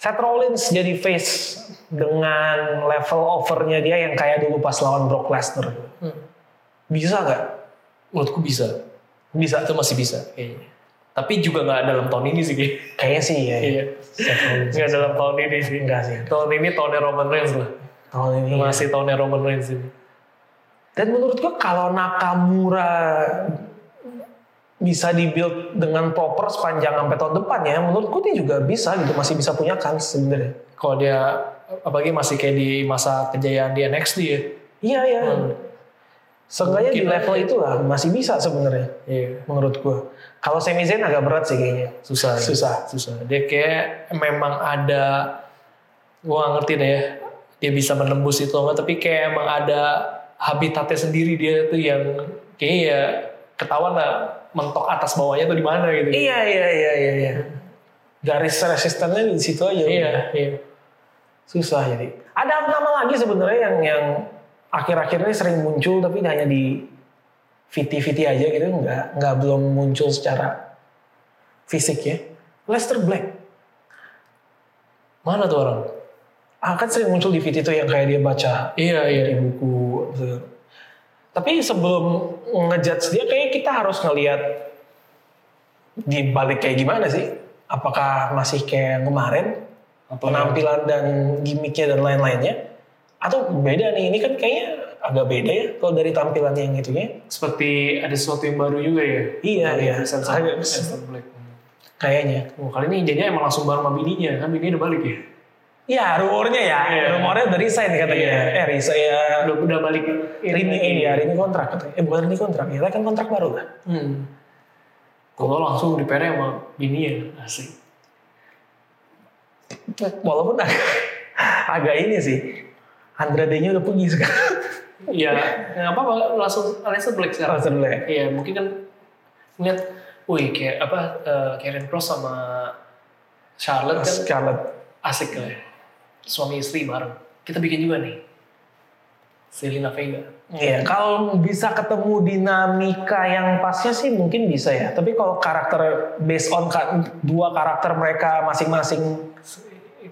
[SPEAKER 2] Seth Rollins jadi face dengan level overnya dia yang kayak dulu pas lawan Brock Lesnar.
[SPEAKER 3] Hmm.
[SPEAKER 2] Bisa nggak?
[SPEAKER 3] menurutku bisa
[SPEAKER 2] Bisa.
[SPEAKER 3] itu masih bisa kayaknya tapi juga nggak dalam tahun ini sih kayaknya.
[SPEAKER 2] Kayaknya sih ya. ya.
[SPEAKER 3] iya
[SPEAKER 2] Seth Rollins.
[SPEAKER 3] nggak dalam tahun ini sih
[SPEAKER 2] Enggak sih.
[SPEAKER 3] tahun ini tahunnya Roman Reigns lah
[SPEAKER 2] Tahun ini. ya.
[SPEAKER 3] masih tahunnya Roman Reigns ini
[SPEAKER 2] Dan menurut gua kalau Nakamura bisa dibuild dengan proper sepanjang sampai tahun depan ya, menurut gua dia juga bisa gitu, masih bisa punya kans sebenarnya.
[SPEAKER 3] kalau dia apalagi masih kayak di masa kejayaan di NXT ya
[SPEAKER 2] Iya iya.
[SPEAKER 3] Hmm.
[SPEAKER 2] Seenggaknya di
[SPEAKER 3] Mungkin
[SPEAKER 2] level
[SPEAKER 3] aja.
[SPEAKER 2] itulah masih bisa sebenarnya
[SPEAKER 3] iya
[SPEAKER 2] menurut gua. Kalau Sami Zayn agak berat sih kayaknya.
[SPEAKER 3] susah ya.
[SPEAKER 2] Susah.
[SPEAKER 3] susah dia kayak memang ada gua nggak ngerti deh ya dia bisa menembus itu apa tapi kayak emang ada habitatnya sendiri dia tuh yang kayak ya ketahuan lah mentok atas bawahnya tuh di mana gitu
[SPEAKER 2] Iya iya iya iya. iya. Garis resistennya di situ aja.
[SPEAKER 3] iya iya
[SPEAKER 2] Susah jadi. Ada nama lagi sebenarnya yang yang akhir-akhir ini sering muncul tapi hanya di fiti-fiti aja gitu nggak nggak belum muncul secara fisik ya. Lester Black.
[SPEAKER 3] mana tuh orang
[SPEAKER 2] Ah, kan sering muncul di fiti tuh yang kayak dia baca
[SPEAKER 3] iya
[SPEAKER 2] di
[SPEAKER 3] iya
[SPEAKER 2] buku. gitu. Tapi sebelum ngejudge dia kayak kita harus ngelihat di balik kayak gimana sih? Apakah masih kayak yang kemarin
[SPEAKER 3] apa
[SPEAKER 2] penampilan dan gimmicknya dan lain-lainnya atau beda nih ini kan kayaknya agak beda ya kalau dari tampilan yang itunya
[SPEAKER 3] seperti ada sesuatu yang baru juga ya
[SPEAKER 2] Iya,
[SPEAKER 3] Dari
[SPEAKER 2] iya.
[SPEAKER 3] Vincent
[SPEAKER 2] Agak-
[SPEAKER 3] Vincent Black.
[SPEAKER 2] kayaknya
[SPEAKER 3] Wah, Oh, kali ini jadinya emang langsung bareng sama bininya kan bininya udah balik ya
[SPEAKER 2] ya rumornya ya
[SPEAKER 3] Iya.
[SPEAKER 2] rumornya udah resign katanya
[SPEAKER 3] Iya.
[SPEAKER 2] eh resign ya
[SPEAKER 3] udah, udah balik
[SPEAKER 2] renew ini ya renew kontrak katanya eh bukan renew kontrak ya kan kontrak baru lah
[SPEAKER 3] Hmm. Kalau langsung di PR sama bininya asik.
[SPEAKER 2] walaupun agak, agak ini sih Andrade nya udah pergi sekarang
[SPEAKER 3] Iya, nggak apa-apa langsung Alexa Black sekarang.
[SPEAKER 2] langsung deh
[SPEAKER 3] Iya, mungkin kan lihat, wih kayak apa eh, Karen Cross sama Charlotte kan
[SPEAKER 2] Scarlett
[SPEAKER 3] asik lah. ya. Suami istri bareng. Kita bikin juga nih. Selena Vega.
[SPEAKER 2] Iya, kalau bisa ketemu dinamika yang pasnya sih mungkin bisa ya. Tapi kalau karakter based on ka- dua karakter mereka masing-masing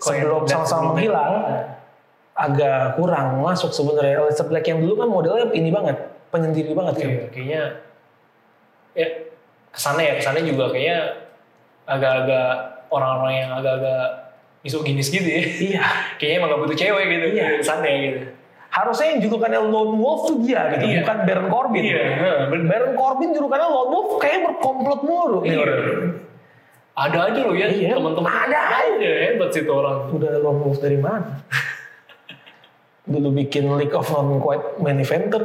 [SPEAKER 3] Kalau yang
[SPEAKER 2] Sebelum
[SPEAKER 3] Black
[SPEAKER 2] sama-sama
[SPEAKER 3] sebelumnya.
[SPEAKER 2] menghilang. agak kurang masuk sebenarnya. Alistair Black yang dulu kan modelnya ini banget, penyendiri banget kan.
[SPEAKER 3] Iya, kayaknya ya kesana ya kesana juga kayaknya agak-agak orang-orang yang agak-agak misoginis gitu ya.
[SPEAKER 2] Iya.
[SPEAKER 3] kayaknya emang gak butuh cewek gitu
[SPEAKER 2] Iya.
[SPEAKER 3] sana gitu
[SPEAKER 2] Harusnya yang julukannya Lone Wolf tuh dia gitu,
[SPEAKER 3] Iya.
[SPEAKER 2] bukan Baron Corbin.
[SPEAKER 3] Iya, bener.
[SPEAKER 2] Baron Corbin julukannya Lone Wolf kayaknya berkomplot mulu. nih
[SPEAKER 3] Iya.
[SPEAKER 2] orang.
[SPEAKER 3] ada aja loh ya
[SPEAKER 2] Iya.
[SPEAKER 3] teman-teman
[SPEAKER 2] Ada
[SPEAKER 3] aja hebat sih itu orang
[SPEAKER 2] Udah Lone Wolf dari mana? dulu bikin League of Non Quite Main Eventer.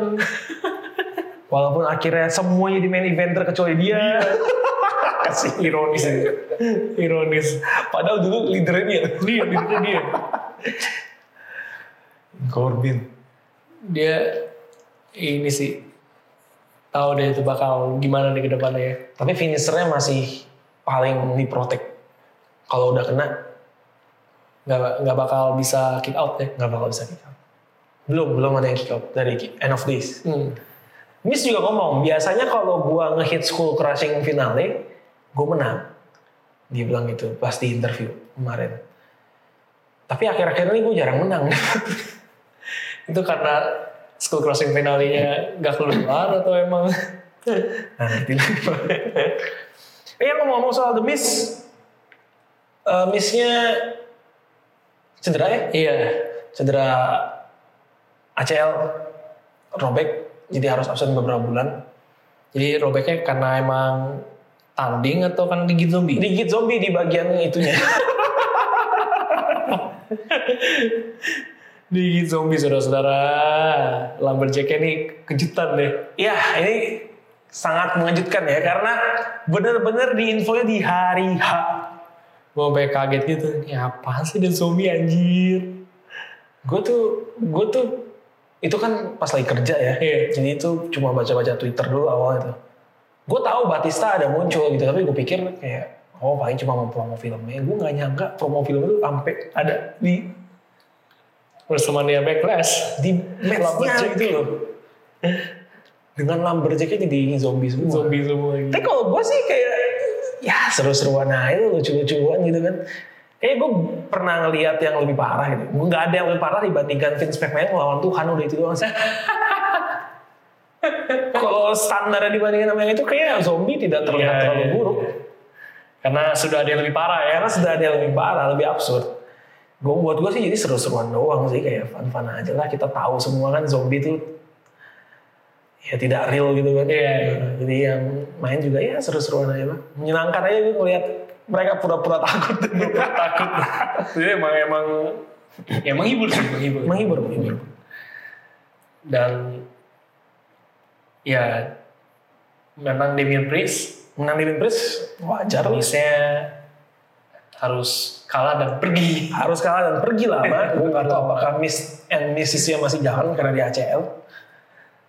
[SPEAKER 2] Walaupun akhirnya semuanya di main eventer kecuali dia. Kasih
[SPEAKER 3] ironis gitu. ironis
[SPEAKER 2] Padahal dulu leadernya dia.
[SPEAKER 3] dia dia dia
[SPEAKER 2] Corbin.
[SPEAKER 3] dia ini sih tahu deh itu bakal gimana nih ke depannya ya
[SPEAKER 2] Tapi finishernya masih paling diprotek. Kalau udah kena
[SPEAKER 3] nggak nggak bakal bisa kick out ya. deh
[SPEAKER 2] nggak bakal bisa kick out. Belum belum ada yang kick out dari ki- end of days.
[SPEAKER 3] hmm.
[SPEAKER 2] Miss juga ngomong biasanya kalau gua ngehit school crushing finale, gua menang. Dia bilang gitu pas di interview kemarin. Tapi akhir-akhir ini gua jarang menang.
[SPEAKER 3] itu karena school crossing finalnya nggak keluar atau emang
[SPEAKER 2] nah, nanti lah. Eh, ngomong-ngomong soal The Miss, eh, Miss-nya cedera ya?
[SPEAKER 3] iya
[SPEAKER 2] cedera ACL robek jadi harus absen beberapa bulan
[SPEAKER 3] jadi robeknya karena emang tanding atau kan digigit zombie
[SPEAKER 2] digigit zombie di bagian itunya
[SPEAKER 3] digigit zombie saudara-saudara. Lumberjack-nya nih kejutan deh.
[SPEAKER 2] Ya, ini sangat mengejutkan ya karena benar-benar diinfonya di hari H.
[SPEAKER 3] Gue sampai kaget gitu. Ini
[SPEAKER 2] Ya,
[SPEAKER 3] apaan sih dan zombie anjir.
[SPEAKER 2] Gue tuh, gue tuh itu kan pas lagi kerja ya.
[SPEAKER 3] Iya.
[SPEAKER 2] Jadi itu cuma baca-baca Twitter dulu awalnya tuh. Gue tahu Batista ada muncul gitu, tapi gue pikir kayak oh paling cuma mau promo filmnya. Gue nggak nyangka promo film itu sampai ada di
[SPEAKER 3] WrestleMania Backlash.
[SPEAKER 2] di matchnya
[SPEAKER 3] Lumberjack.
[SPEAKER 2] gitu loh. Dengan lumberjacknya jadi zombie semua.
[SPEAKER 3] Zombie semua
[SPEAKER 2] Tapi
[SPEAKER 3] gitu.
[SPEAKER 2] kalau gue sih kayak ya seru-seruan aja lucu-lucuan gitu kan. Kayak gue pernah ngeliat yang lebih parah gitu. Gue nggak ada yang lebih parah dibandingkan Vince McMahon lawan Tuhan udah itu doang sih. kalau standarnya dibandingin sama yang itu kayak zombie tidak terlihat
[SPEAKER 3] Iya,
[SPEAKER 2] terlalu
[SPEAKER 3] iya,
[SPEAKER 2] buruk.
[SPEAKER 3] iya. Karena sudah ada yang lebih parah ya.
[SPEAKER 2] Karena sudah ada yang lebih parah, lebih absurd. Gue buat gue sih jadi seru-seruan doang sih kayak fun-fun aja lah. Kita tahu semua kan zombie itu ya tidak real gitu kan.
[SPEAKER 3] Iya, iya.
[SPEAKER 2] Jadi yang main juga ya seru-seruan aja lah. Menyenangkan aja gue ngeliat mereka pura-pura takut.
[SPEAKER 3] takut. Jadi emang emang ya menghibur sih, menghibur.
[SPEAKER 2] menghibur, menghibur.
[SPEAKER 3] Dan ya memang Damien Priest
[SPEAKER 2] Menang di Prince wajar lah.
[SPEAKER 3] harusnya harus kalah dan pergi.
[SPEAKER 2] Harus kalah dan pergi
[SPEAKER 3] Eh,
[SPEAKER 2] lama. gue gak tau apakah Miss and Missisnya masih jalan karena di ACL.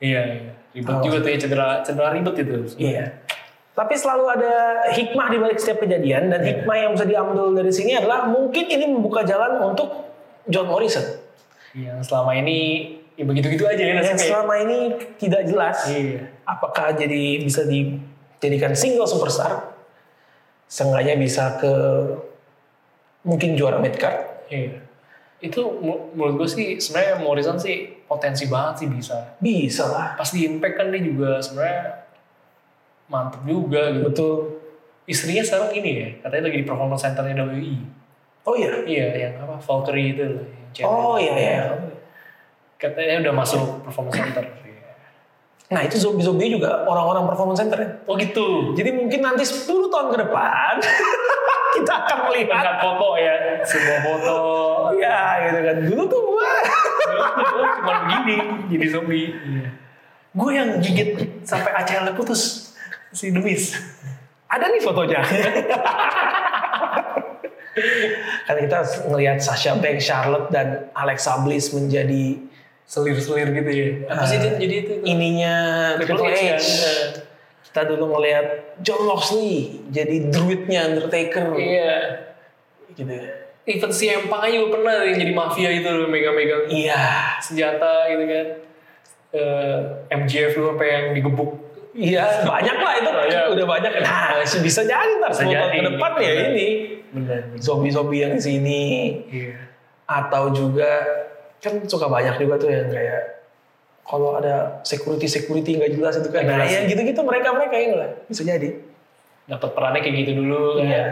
[SPEAKER 3] Iya, iya. ribet
[SPEAKER 2] Oh.
[SPEAKER 3] juga tuh ya cedera cedera ribet itu.
[SPEAKER 2] Iya. Tapi selalu ada hikmah di balik setiap kejadian dan hikmah yang bisa diambil dari sini adalah mungkin ini membuka jalan untuk John Morrison
[SPEAKER 3] Iya, Yang selama ini ya begitu-gitu aja ya
[SPEAKER 2] yang
[SPEAKER 3] nasibnya.
[SPEAKER 2] selama ini tidak jelas
[SPEAKER 3] Iya.
[SPEAKER 2] apakah jadi bisa dijadikan single superstar seenggaknya bisa ke mungkin juara midcard
[SPEAKER 3] Iya. Itu mu- menurut gue sih sebenarnya Morrison sih potensi banget sih bisa.
[SPEAKER 2] bisa lah
[SPEAKER 3] Pas di Impact kan dia juga sebenarnya mantep juga gitu.
[SPEAKER 2] betul
[SPEAKER 3] Istrinya sekarang ini ya, katanya lagi di performance centernya WI.
[SPEAKER 2] oh iya
[SPEAKER 3] Iya, yang apa Valkyrie itu loh. yang cewek.
[SPEAKER 2] oh iya iya
[SPEAKER 3] Katanya udah masuk performance center. Iya.
[SPEAKER 2] nah itu zombie zombie juga orang-orang performance center ya.
[SPEAKER 3] Oh gitu.
[SPEAKER 2] jadi mungkin nanti 10 tahun ke depan kita akan melihat
[SPEAKER 3] Angkat foto ya, sebuah foto.
[SPEAKER 2] Iya gitu kan. Dulu tuh gue
[SPEAKER 3] Dulu Cuma begini, jadi zombie. Iya.
[SPEAKER 2] gue yang gigit sampai ACL putus si Demis. Ada nih fotonya. Karena kita ngelihat Sasha Banks, Charlotte dan Alexa Bliss menjadi
[SPEAKER 3] Selir-selir gitu ya. Apa sih dia jadi itu?
[SPEAKER 2] ininya Triple H. Iya.
[SPEAKER 3] kan?
[SPEAKER 2] Kita dulu ngelihat John Moxley jadi druidnya Undertaker.
[SPEAKER 3] Iya.
[SPEAKER 2] Gitu.
[SPEAKER 3] Even si Empang aja juga pernah yang jadi mafia itu loh, megang-megang
[SPEAKER 2] Iya.
[SPEAKER 3] senjata gitu kan. Eh, MJF lu apa yang digebuk.
[SPEAKER 2] Iya, banyak lah itu.
[SPEAKER 3] Iya.
[SPEAKER 2] Udah banyak. Nah, bisa jadi ntar
[SPEAKER 3] Bisa
[SPEAKER 2] 10 tahun
[SPEAKER 3] jadi.
[SPEAKER 2] ke depan ya
[SPEAKER 3] Benar.
[SPEAKER 2] ini.
[SPEAKER 3] Benar.
[SPEAKER 2] zombie-zombie yang di sini
[SPEAKER 3] Iya.
[SPEAKER 2] atau juga kan suka banyak juga tuh yang kayak kalau ada security security nggak jelas itu kan
[SPEAKER 3] Nggak
[SPEAKER 2] nah,
[SPEAKER 3] jelas.
[SPEAKER 2] ya gitu-gitu mereka mereka ini lah bisa jadi
[SPEAKER 3] Dapat perannya kayak gitu dulu kan.
[SPEAKER 2] Iya.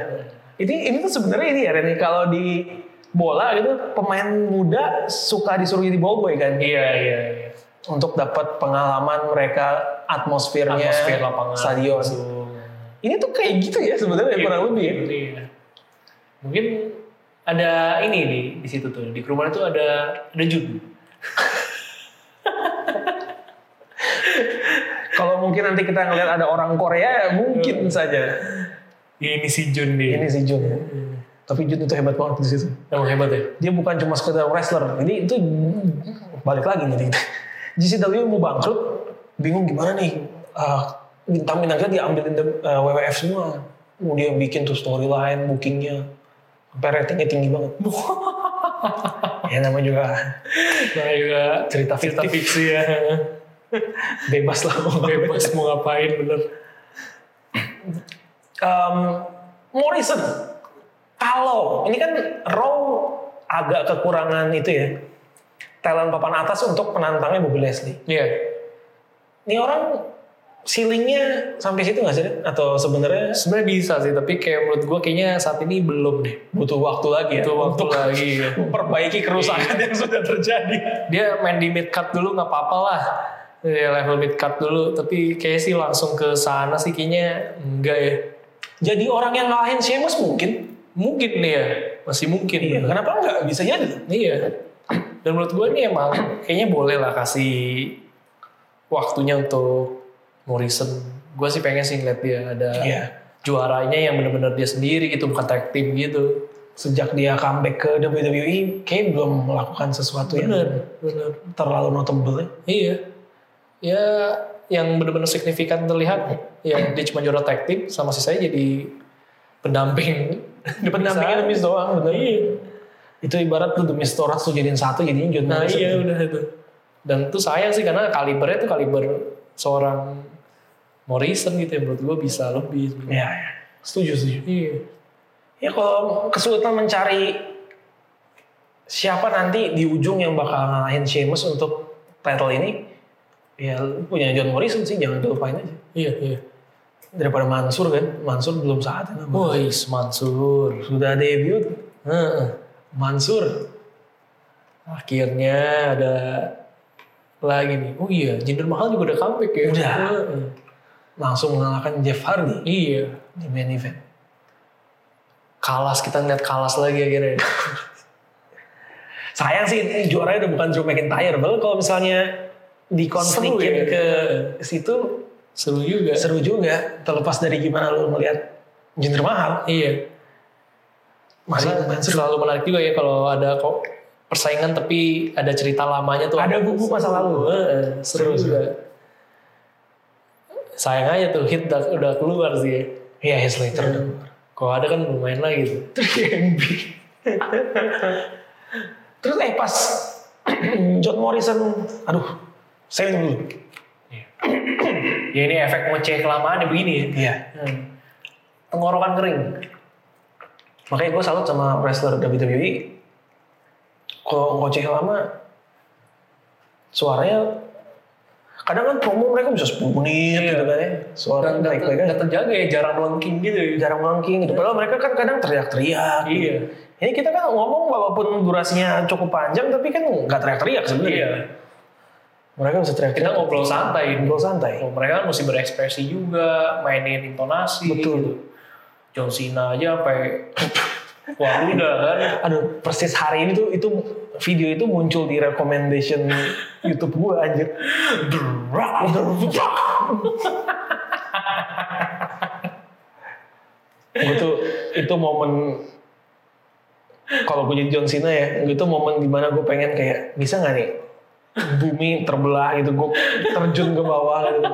[SPEAKER 2] ini ini tuh sebenarnya ini ya Ren kalau di bola gitu pemain muda suka disuruh jadi ballboy kan
[SPEAKER 3] Iya, iya, iya.
[SPEAKER 2] untuk dapat pengalaman mereka atmosfernya
[SPEAKER 3] Atmosfer lapangan. Iya.
[SPEAKER 2] stadion
[SPEAKER 3] langsung.
[SPEAKER 2] ini tuh kayak gitu ya sebenarnya
[SPEAKER 3] Iya,
[SPEAKER 2] kurang lebih ya.
[SPEAKER 3] Iya. Mungkin ada ini nih di situ tuh. Di kerumunan tuh ada ada judi.
[SPEAKER 2] kalau mungkin nanti kita ngelihat ada orang Korea
[SPEAKER 3] Hmm.
[SPEAKER 2] mungkin saja
[SPEAKER 3] Iya, Ini si Jun
[SPEAKER 2] ini
[SPEAKER 3] nih.
[SPEAKER 2] si Jun tapi Jun itu hebat banget di situ
[SPEAKER 3] Emang hebat ya.
[SPEAKER 2] dia bukan cuma sekedar wrestler jadi itu balik lagi jadi GCW mau bangkrut bingung gimana nih Ah, bintang-bintang kita diambilin dem- eh, WWF semua mau dia bikin tuh storyline bookingnya sampai ratingnya tinggi banget ya namanya juga
[SPEAKER 3] Nah, juga
[SPEAKER 2] cerita
[SPEAKER 3] cerita
[SPEAKER 2] fiktif
[SPEAKER 3] fiksi ya.
[SPEAKER 2] bebas lah
[SPEAKER 3] Bebas mau ngapain bener.
[SPEAKER 2] Em, Morrison kalau ini kan Raw agak kekurangan itu ya talent papan atas untuk penantangnya Bobby Leslie
[SPEAKER 3] Iya.
[SPEAKER 2] ini orang ceilingnya sampai situ nggak sih Ren? atau sebenarnya
[SPEAKER 3] Sebenarnya bisa sih, tapi kayak menurut gue kayaknya saat ini belum deh.
[SPEAKER 2] butuh waktu lagi ya
[SPEAKER 3] Itu waktu
[SPEAKER 2] untuk
[SPEAKER 3] lagi. Iya. ya.
[SPEAKER 2] memperbaiki kerusakan yang sudah terjadi
[SPEAKER 3] Dia main di mid card dulu nggak apa-apa lah. Ya, level mid card dulu, tapi kayak sih langsung ke sana sih kayaknya enggak ya.
[SPEAKER 2] jadi orang yang ngalahin Sheamus mungkin
[SPEAKER 3] Mungkin nih ya, masih mungkin.
[SPEAKER 2] iya.
[SPEAKER 3] bener.
[SPEAKER 2] kenapa nggak bisa jadi
[SPEAKER 3] Iya. Dan menurut gue ini emang kayaknya boleh lah kasih waktunya untuk Morrison. Gue sih pengen sih ngeliat dia ada
[SPEAKER 2] Iya.
[SPEAKER 3] juaranya yang bener-bener dia sendiri gitu, bukan tag team gitu.
[SPEAKER 2] Sejak dia comeback ke WWE, kayaknya belum melakukan sesuatu yang
[SPEAKER 3] Bener, bener.
[SPEAKER 2] terlalu notable ya.
[SPEAKER 3] Iya. Ya yang benar-benar signifikan terlihat ya dia cuma juara tag team sama si saya jadi pendamping di
[SPEAKER 2] Pendampingnya
[SPEAKER 3] perpisahan.
[SPEAKER 2] The Miz doang, bener.
[SPEAKER 3] Iya.
[SPEAKER 2] Itu ibarat tuh The Miz Torah tuh jadiin satu, jadinya John
[SPEAKER 3] Nah
[SPEAKER 2] Morrison.
[SPEAKER 3] iya udah itu. Dan itu sayang sih karena kalibernya tuh kaliber seorang Morrison gitu ya menurut gua bisa lebih. sebenarnya.
[SPEAKER 2] Iya, iya. Setuju, setuju.
[SPEAKER 3] Iya.
[SPEAKER 2] Ya kalau kesulitan mencari siapa nanti di ujung yang bakal ngalahin Sheamus untuk title ini, ya lu punya John Morrison sih, jangan dilupain aja.
[SPEAKER 3] Iya iya.
[SPEAKER 2] Daripada Mansur kan, Mansur belum saatnya. namanya.
[SPEAKER 3] Woi Mansur.
[SPEAKER 2] Sudah debut,
[SPEAKER 3] Heeh.
[SPEAKER 2] Mansur.
[SPEAKER 3] Akhirnya ada lagi nih. Oh iya, Jinder Mahal juga udah comeback ya.
[SPEAKER 2] Udah.
[SPEAKER 3] Heeh.
[SPEAKER 2] langsung mengalahkan Jeff Hardy
[SPEAKER 3] Iya.
[SPEAKER 2] di main event.
[SPEAKER 3] Kalas kita ngeliat Kalas lagi akhirnya.
[SPEAKER 2] Sayang sih ini juaranya udah bukan Drew McIntyre. Padahal kalau misalnya dikonflikin
[SPEAKER 3] Seru ya.
[SPEAKER 2] ke situ
[SPEAKER 3] Seru juga.
[SPEAKER 2] seru juga. Terlepas dari gimana lu melihat Jinder Mahal.
[SPEAKER 3] Iya.
[SPEAKER 2] Masih
[SPEAKER 3] Karena
[SPEAKER 2] lumayan seru.
[SPEAKER 3] selalu menarik juga ya kalau ada kok persaingan tapi ada cerita lamanya tuh.
[SPEAKER 2] Ada bubuk masa lalu.
[SPEAKER 3] Heeh, seru,
[SPEAKER 2] Seru,
[SPEAKER 3] juga. Sayang aja tuh hit udah, udah keluar sih ya.
[SPEAKER 2] Iya, Heath Slater. udah.
[SPEAKER 3] Kalau ada kan lumayan lah gitu.
[SPEAKER 2] Terus eh pas John Morrison, aduh, saya minum dulu.
[SPEAKER 3] ya ini efek ngoceh kelamaan ya begini ya.
[SPEAKER 2] Iya.
[SPEAKER 3] Hmm. Tenggorokan kering.
[SPEAKER 2] Makanya gue salut sama wrestler WWE. Kalau ngoceh lama, suaranya kadang kan promo mereka bisa 10 menit
[SPEAKER 3] Iya.
[SPEAKER 2] gitu kan ya. Suara
[SPEAKER 3] Dan gak,
[SPEAKER 2] baik-baik aja.
[SPEAKER 3] terjaga ya jarang melengking gitu ya.
[SPEAKER 2] Jarang melengking gitu. Padahal mereka kan kadang teriak-teriak.
[SPEAKER 3] Iya.
[SPEAKER 2] Ini kita kan ngomong walaupun durasinya cukup panjang tapi kan nggak teriak-teriak
[SPEAKER 3] Iya.
[SPEAKER 2] sebenarnya. Mereka bisa
[SPEAKER 3] Kita
[SPEAKER 2] teriak-teriak.
[SPEAKER 3] ngobrol santai.
[SPEAKER 2] ngobrol santai.
[SPEAKER 3] Kalau mereka kan mesti berekspresi juga, mainin intonasi.
[SPEAKER 2] Betul.
[SPEAKER 3] gitu. John Cena aja sampai wah udah kan.
[SPEAKER 2] Aduh, persis hari ini tuh itu video itu muncul di recommendation YouTube gua anjir. Drak, drak. Gua tuh itu momen kalau gue jadi John Cena ya, itu momen dimana gue pengen kayak bisa nggak nih bumi terbelah gitu, gue terjun ke bawah gitu.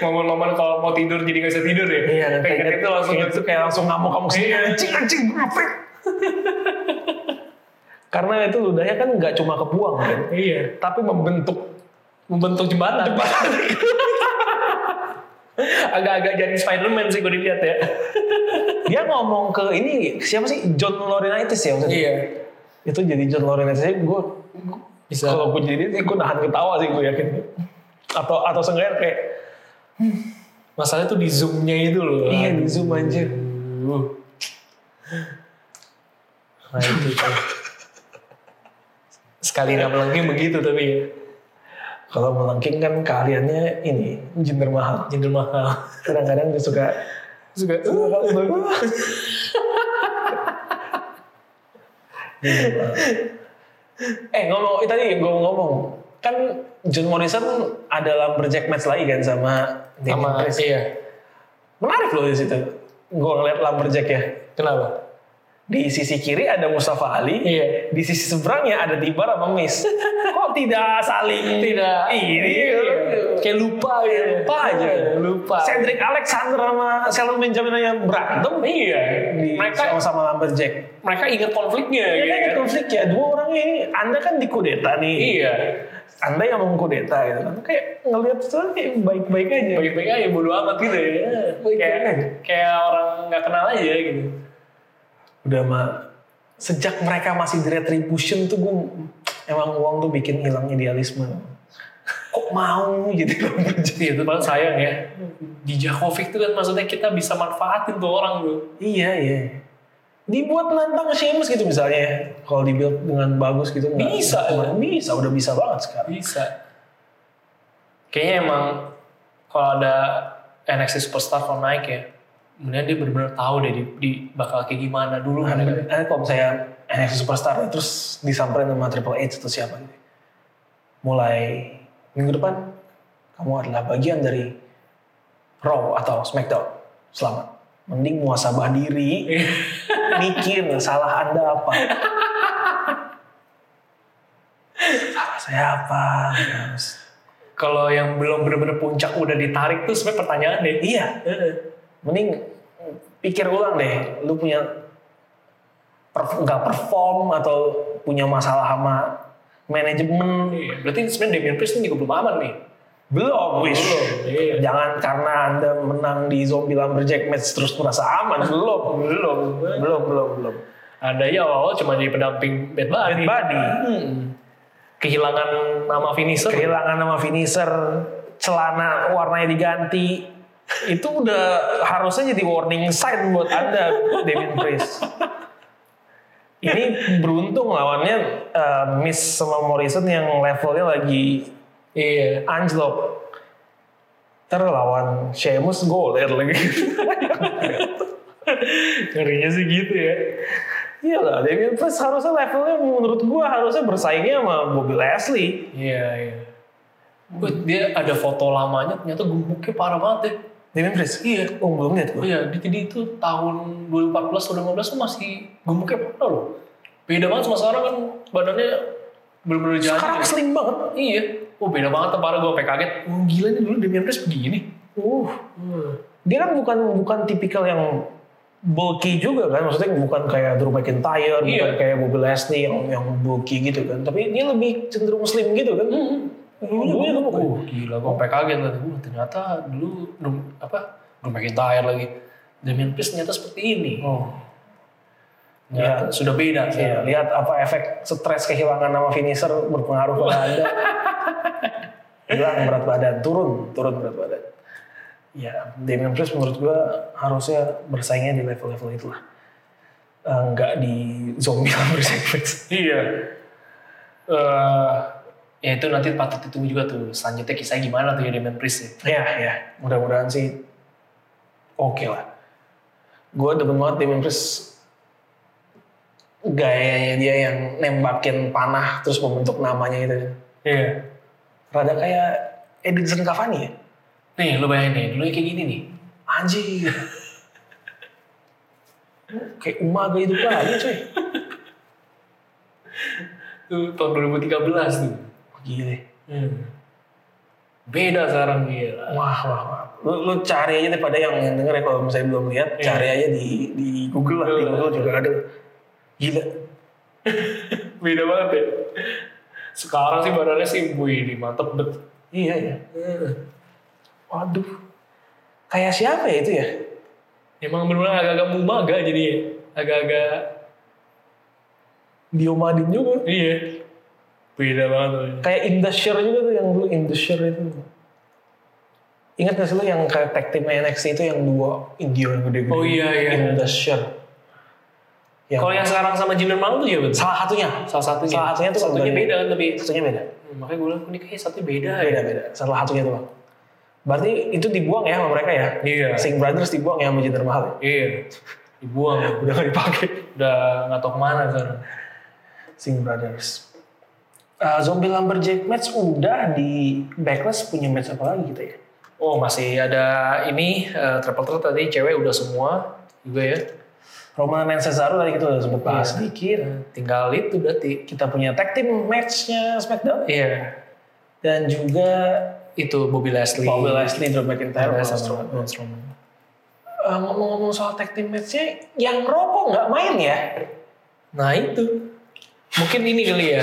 [SPEAKER 3] Momen-momen kalau mau tidur jadi gak bisa tidur ya.
[SPEAKER 2] Iya,
[SPEAKER 3] Pengen
[SPEAKER 2] kayak
[SPEAKER 3] itu langsung
[SPEAKER 2] kayak itu kayak langsung ngamuk kamu sih.
[SPEAKER 3] Iya.
[SPEAKER 2] Anjing, anjing, ngefit. Karena itu ludahnya kan nggak cuma kebuang kan,
[SPEAKER 3] Iya.
[SPEAKER 2] tapi membentuk
[SPEAKER 3] Membentuk jembatan. Agak-agak jadi Spiderman sih gue dilihat ya.
[SPEAKER 2] dia ngomong ke ini siapa sih John Laurinaitis ya maksudnya
[SPEAKER 3] iya.
[SPEAKER 2] itu jadi John Laurinaitis gue
[SPEAKER 3] Bisa.
[SPEAKER 2] kalau gue jadi dia gue nahan ketawa sih gue yakin atau atau seenggaknya kayak
[SPEAKER 3] Masalahnya tuh di zoomnya itu loh.
[SPEAKER 2] iya di zoom anjir
[SPEAKER 3] Aduh. Nah itu tuh. Sekali nggak melengking begitu tapi ya.
[SPEAKER 2] kalau melengking kan keahliannya ini jinder mahal
[SPEAKER 3] Jinder mahal.
[SPEAKER 2] kadang-kadang dia suka uh.
[SPEAKER 3] Suka.
[SPEAKER 2] eh ngomong eh, tadi gue ngomong kan John Morrison adalah berjack match lagi kan sama Damien
[SPEAKER 3] Sama
[SPEAKER 2] Priest.
[SPEAKER 3] iya.
[SPEAKER 2] menarik loh di situ gue ngeliat lumberjack ya
[SPEAKER 3] Kenapa?
[SPEAKER 2] di sisi kiri ada Mustafa Ali
[SPEAKER 3] Iya.
[SPEAKER 2] di sisi seberangnya ada Tibar sama Miss kok tidak saling
[SPEAKER 3] Tidak.
[SPEAKER 2] ini
[SPEAKER 3] Iya. Kayak lupa ya.
[SPEAKER 2] lupa aja
[SPEAKER 3] Lupa.
[SPEAKER 2] Cedric Alexander sama Shelton Benjamin yang berantem
[SPEAKER 3] Iya.
[SPEAKER 2] di
[SPEAKER 3] Mereka
[SPEAKER 2] sama-sama lumberjack
[SPEAKER 3] mereka ingat konfliknya
[SPEAKER 2] Iya
[SPEAKER 3] gitu
[SPEAKER 2] kan ada
[SPEAKER 3] kan.
[SPEAKER 2] konflik ya dua orang ini anda kan di kudeta nih
[SPEAKER 3] Iya.
[SPEAKER 2] anda yang mengkudeta gitu kan kayak ngelihat tuh kayak baik-baik aja
[SPEAKER 3] Baik-baik aja bodo amat gitu ya.
[SPEAKER 2] Baik-baik
[SPEAKER 3] Kayak
[SPEAKER 2] aja.
[SPEAKER 3] kayak orang nggak kenal aja gitu.
[SPEAKER 2] udah mah sejak mereka masih di retribution tuh gue emang uang tuh bikin hilang idealisme kok mau jadi lumberjack
[SPEAKER 3] Iya, itu paling sayang ya. Di Djokovic itu kan maksudnya kita bisa manfaatin tuh orang tuh.
[SPEAKER 2] Iya iya. Dibuat nantang Sheamus gitu misalnya ya. Kalau dibuild dengan bagus gitu. nggak-
[SPEAKER 3] Bisa,
[SPEAKER 2] nggak- Bisa, udah bisa banget sekarang.
[SPEAKER 3] Bisa. Kayaknya emang kalau ada NXT Superstar kalau naik ya, kemudian dia benar-benar tahu deh di, di bakal kayak gimana dulu kan.
[SPEAKER 2] Nah, kalau misalnya NXT Superstar terus disamperin sama Triple H atau siapa gitu. Mulai minggu depan kamu adalah bagian dari Raw atau SmackDown. Selamat. Mending muasabah diri, mikir salah anda apa. salah saya apa? Terus,
[SPEAKER 3] Kalau yang belum bener-bener puncak udah ditarik tuh sebenarnya pertanyaan deh.
[SPEAKER 2] Iya,
[SPEAKER 3] Heeh.
[SPEAKER 2] mending pikir ulang deh lu punya perf- nggak perform atau punya masalah sama manajemen
[SPEAKER 3] Iya, Berarti sebenarnya Damien Priest ini juga belum aman nih.
[SPEAKER 2] belum wish
[SPEAKER 3] Iya.
[SPEAKER 2] jangan karena anda menang di zombie lumberjack match terus merasa aman belum belum belum belum belum
[SPEAKER 3] Andainya ya, awal-awal cuma jadi pendamping Bad Bunny.
[SPEAKER 2] Bunny.
[SPEAKER 3] Hmm. Kehilangan nama finisher.
[SPEAKER 2] kehilangan nama finisher celana warnanya diganti itu udah harusnya jadi warning sign buat anda Devin Priest ini beruntung lawannya eh, Miss sama Morrison yang levelnya lagi
[SPEAKER 3] Iya.
[SPEAKER 2] anjlok Ntar lawan Sheamus goler lagi
[SPEAKER 3] Ngerinya sih gitu ya.
[SPEAKER 2] iyalah Devin Iya Priest harusnya levelnya menurut gua harusnya bersaingnya sama Bobby Leslie
[SPEAKER 3] Iya, iya. Wih, dia ada foto lamanya ternyata gemuknya parah banget ya.
[SPEAKER 2] Devin Priest iya oh, belum lihat gua
[SPEAKER 3] Oh iya, dia- jadi itu tahun 2014 atau 2015 tuh masih gemuknya parah loh. Beda banget sama sekarang kan badannya bener-bener jalan.
[SPEAKER 2] sekarang slim banget
[SPEAKER 3] Iya. Oh beda banget parah gue sampai kaget. Oh gila nih dulu Damien Priest begini.
[SPEAKER 2] uh
[SPEAKER 3] Hmm.
[SPEAKER 2] dia kan bukan bukan tipikal yang bulky juga kan maksudnya bukan kayak Drew McIntyre
[SPEAKER 3] Iya.
[SPEAKER 2] bukan kayak Bobby Leslie yang yang bulky gitu kan tapi dia lebih cenderung slim gitu kan
[SPEAKER 3] Hmm. Dulu
[SPEAKER 2] Dulunya gemuk.
[SPEAKER 3] oh, gila gue sampai kaget tadi. Wah ternyata dulu Drew- apa Drew McIntyre lagi. Damien Priest ternyata seperti ini.
[SPEAKER 2] oh
[SPEAKER 3] Ternyata sudah
[SPEAKER 2] iya
[SPEAKER 3] beda. sekarang.
[SPEAKER 2] lihat apa efek stres kehilangan nama finisher berpengaruh pada anda hilang berat badan turun turun berat badan ya Damian Priest menurut gua harusnya bersaingnya di level-level itulah Eh, nggak di zombie Lumberjack match.
[SPEAKER 3] Iya. Eh, ya itu nanti patut ditunggu juga tuh. Selanjutnya kisahnya gimana tuh ya Damien Priest ya.
[SPEAKER 2] Ya, ya. Mudah-mudahan sih oke lah. Gue demen banget Damien Priest gayanya dia yang nembakin panah terus membentuk namanya gitu.
[SPEAKER 3] Iya.
[SPEAKER 2] Rada kayak Edinson Cavani ya?
[SPEAKER 3] Nih lu bayangin nih, dulu kayak gini nih.
[SPEAKER 2] Anjir. kayak Umaga itu lagi iya cuy.
[SPEAKER 3] Tuh, tahun 2013 tuh.
[SPEAKER 2] Gile. Iya.
[SPEAKER 3] Hmm. Beda sekarang gila.
[SPEAKER 2] Wah, wah, wah. Lu, lu cari aja deh pada yang, yang denger ya kalau misalnya belum lihat,
[SPEAKER 3] Iya.
[SPEAKER 2] cari aja di di Google lah, di
[SPEAKER 3] Google.
[SPEAKER 2] Google juga ada. Gila.
[SPEAKER 3] Beda banget ya. Sekarang sih badannya sih, wih ini mantep bet.
[SPEAKER 2] Iya, iya. Waduh. Kayak siapa ya itu ya?
[SPEAKER 3] Emang bener-bener agak-agak mumaga jadi ya. agak-agak
[SPEAKER 2] Diomadin juga.
[SPEAKER 3] iya. Beda banget. loh.
[SPEAKER 2] Kayak Indusher juga tuh yang dulu Indusher itu. Ingat gak sih lo yang kayak tag team NXT itu yang dua Indio yang gede-gede?
[SPEAKER 3] Oh iya, iya.
[SPEAKER 2] Indusher. Yang
[SPEAKER 3] Kalau yang sekarang sama Jinder Mahal tuh ya bet.
[SPEAKER 2] salah Iya. satunya.
[SPEAKER 3] Salah satunya.
[SPEAKER 2] Salah satunya tuh
[SPEAKER 3] satunya
[SPEAKER 2] kalau dari-
[SPEAKER 3] beda kan tapi
[SPEAKER 2] Satunya beda.
[SPEAKER 3] Hmm, makanya gue bilang ini kayaknya satunya beda ya.
[SPEAKER 2] Beda-beda. Salah satunya tuh. Berarti itu dibuang ya sama mereka ya?
[SPEAKER 3] Iya.
[SPEAKER 2] Sing Brothers dibuang ya sama Jinder Mahal. ya?
[SPEAKER 3] Iya. Dibuang.
[SPEAKER 2] Udah gak dipakai.
[SPEAKER 3] Udah nggak tahu kemana sekarang.
[SPEAKER 2] Sing Brothers. Uh, zombie Lumberjack match udah di Backlash punya match apa lagi kita ya?
[SPEAKER 3] Oh masih ada ini eh, triple threat tadi cewek udah semua juga ya.
[SPEAKER 2] Roman dan Cesaro tadi kita udah sempet bahas
[SPEAKER 3] Iya.
[SPEAKER 2] sedikit.
[SPEAKER 3] Tinggal itu berarti.
[SPEAKER 2] Kita punya tag team matchnya SmackDown
[SPEAKER 3] Iya.
[SPEAKER 2] dan juga
[SPEAKER 3] Itu Bobby Leslie.
[SPEAKER 2] Bobby Leslie, Drew McIntyre, Braun
[SPEAKER 3] Bobby Leslie.
[SPEAKER 2] Strowman. Braun Strowman. Uh, Ngomong-ngomong soal tag team matchnya, yang rokok nggak main ya?
[SPEAKER 3] Nah itu. Mungkin ini kali ya.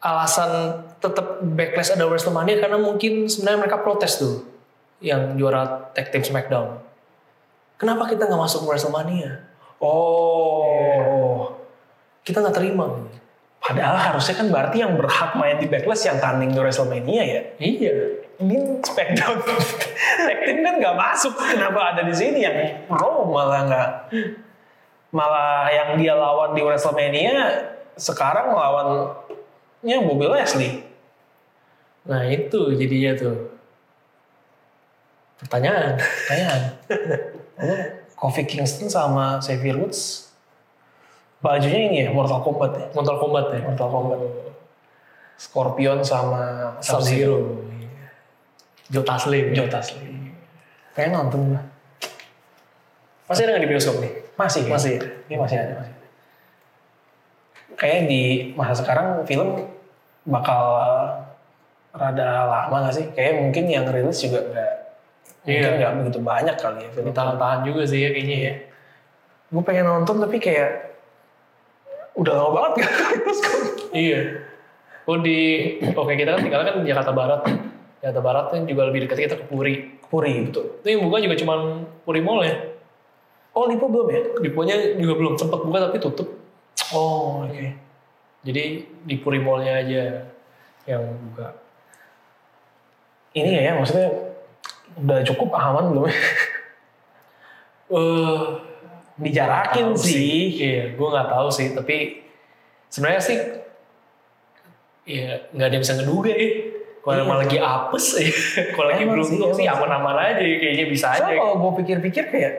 [SPEAKER 3] Alasan tetap backlash ada WrestleMania karena mungkin sebenarnya mereka protes tuh yang juara tag team SmackDown. Kenapa kita nggak masuk WrestleMania?
[SPEAKER 2] Oh,
[SPEAKER 3] Kita nggak terima.
[SPEAKER 2] padahal harusnya kan berarti yang berhak main di Backlash yang tanding di WrestleMania ya?
[SPEAKER 3] Iya.
[SPEAKER 2] ini Smackdown tag team kan nggak masuk kenapa ada di sini yang Raw malah nggak malah yang dia lawan di Wrestlemania sekarang lawannya Bobby Leslie
[SPEAKER 3] Nah itu jadinya tuh. Pertanyaan.
[SPEAKER 2] kayaknya Lalu Kofi Kingston sama Xavier Woods bajunya ini ya Mortal Kombat ya
[SPEAKER 3] Mortal Kombat ya.
[SPEAKER 2] Mortal Kombat Scorpion sama
[SPEAKER 3] Sub
[SPEAKER 2] Sub-Zero
[SPEAKER 3] Zero. Jota Slim.
[SPEAKER 2] Joe Taslim pengen nonton lah
[SPEAKER 3] Masih ada nggak di bioskop nih?
[SPEAKER 2] masih kayaknya.
[SPEAKER 3] Masih. ya?
[SPEAKER 2] ini masih ada masih ada. kayaknya di masa sekarang film bakal eh, rada lama gak sih kayaknya mungkin yang rilis juga nggak mungkin
[SPEAKER 3] Iya.
[SPEAKER 2] nggak begitu banyak kali ya film
[SPEAKER 3] Ditahan-tahan juga sih ya kayaknya ya.
[SPEAKER 2] gue pengen nonton tapi kayak udah lama banget gak ke bioskop.
[SPEAKER 3] Iya. Oh di, oke kita kan tinggalnya kan di Jakarta Barat. Jakarta Barat kan juga lebih dekat kita ke Puri.
[SPEAKER 2] Puri betul.
[SPEAKER 3] Itu yang buka juga cuman Puri Mall ya.
[SPEAKER 2] Oh Lipo belum ya?
[SPEAKER 3] Diponya juga belum sempat buka tapi tutup.
[SPEAKER 2] Oh oke.
[SPEAKER 3] Jadi di Puri Mall-nya aja yang buka.
[SPEAKER 2] Ini ya maksudnya udah cukup aman belum? ya?
[SPEAKER 3] Eh,
[SPEAKER 2] Dijarakin
[SPEAKER 3] tahu
[SPEAKER 2] sih.
[SPEAKER 3] Iya, gue nggak tahu sih. Tapi sebenarnya sih, ya nggak ada yang bisa ngeduga ya. Kalau
[SPEAKER 2] Iya.
[SPEAKER 3] emang lagi apes ya, kalau lagi
[SPEAKER 2] Emang
[SPEAKER 3] belum
[SPEAKER 2] sih,
[SPEAKER 3] sih
[SPEAKER 2] emang sih.
[SPEAKER 3] aman-aman aja kayaknya bisa
[SPEAKER 2] Soalnya
[SPEAKER 3] aja.
[SPEAKER 2] kalau gue pikir-pikir kayak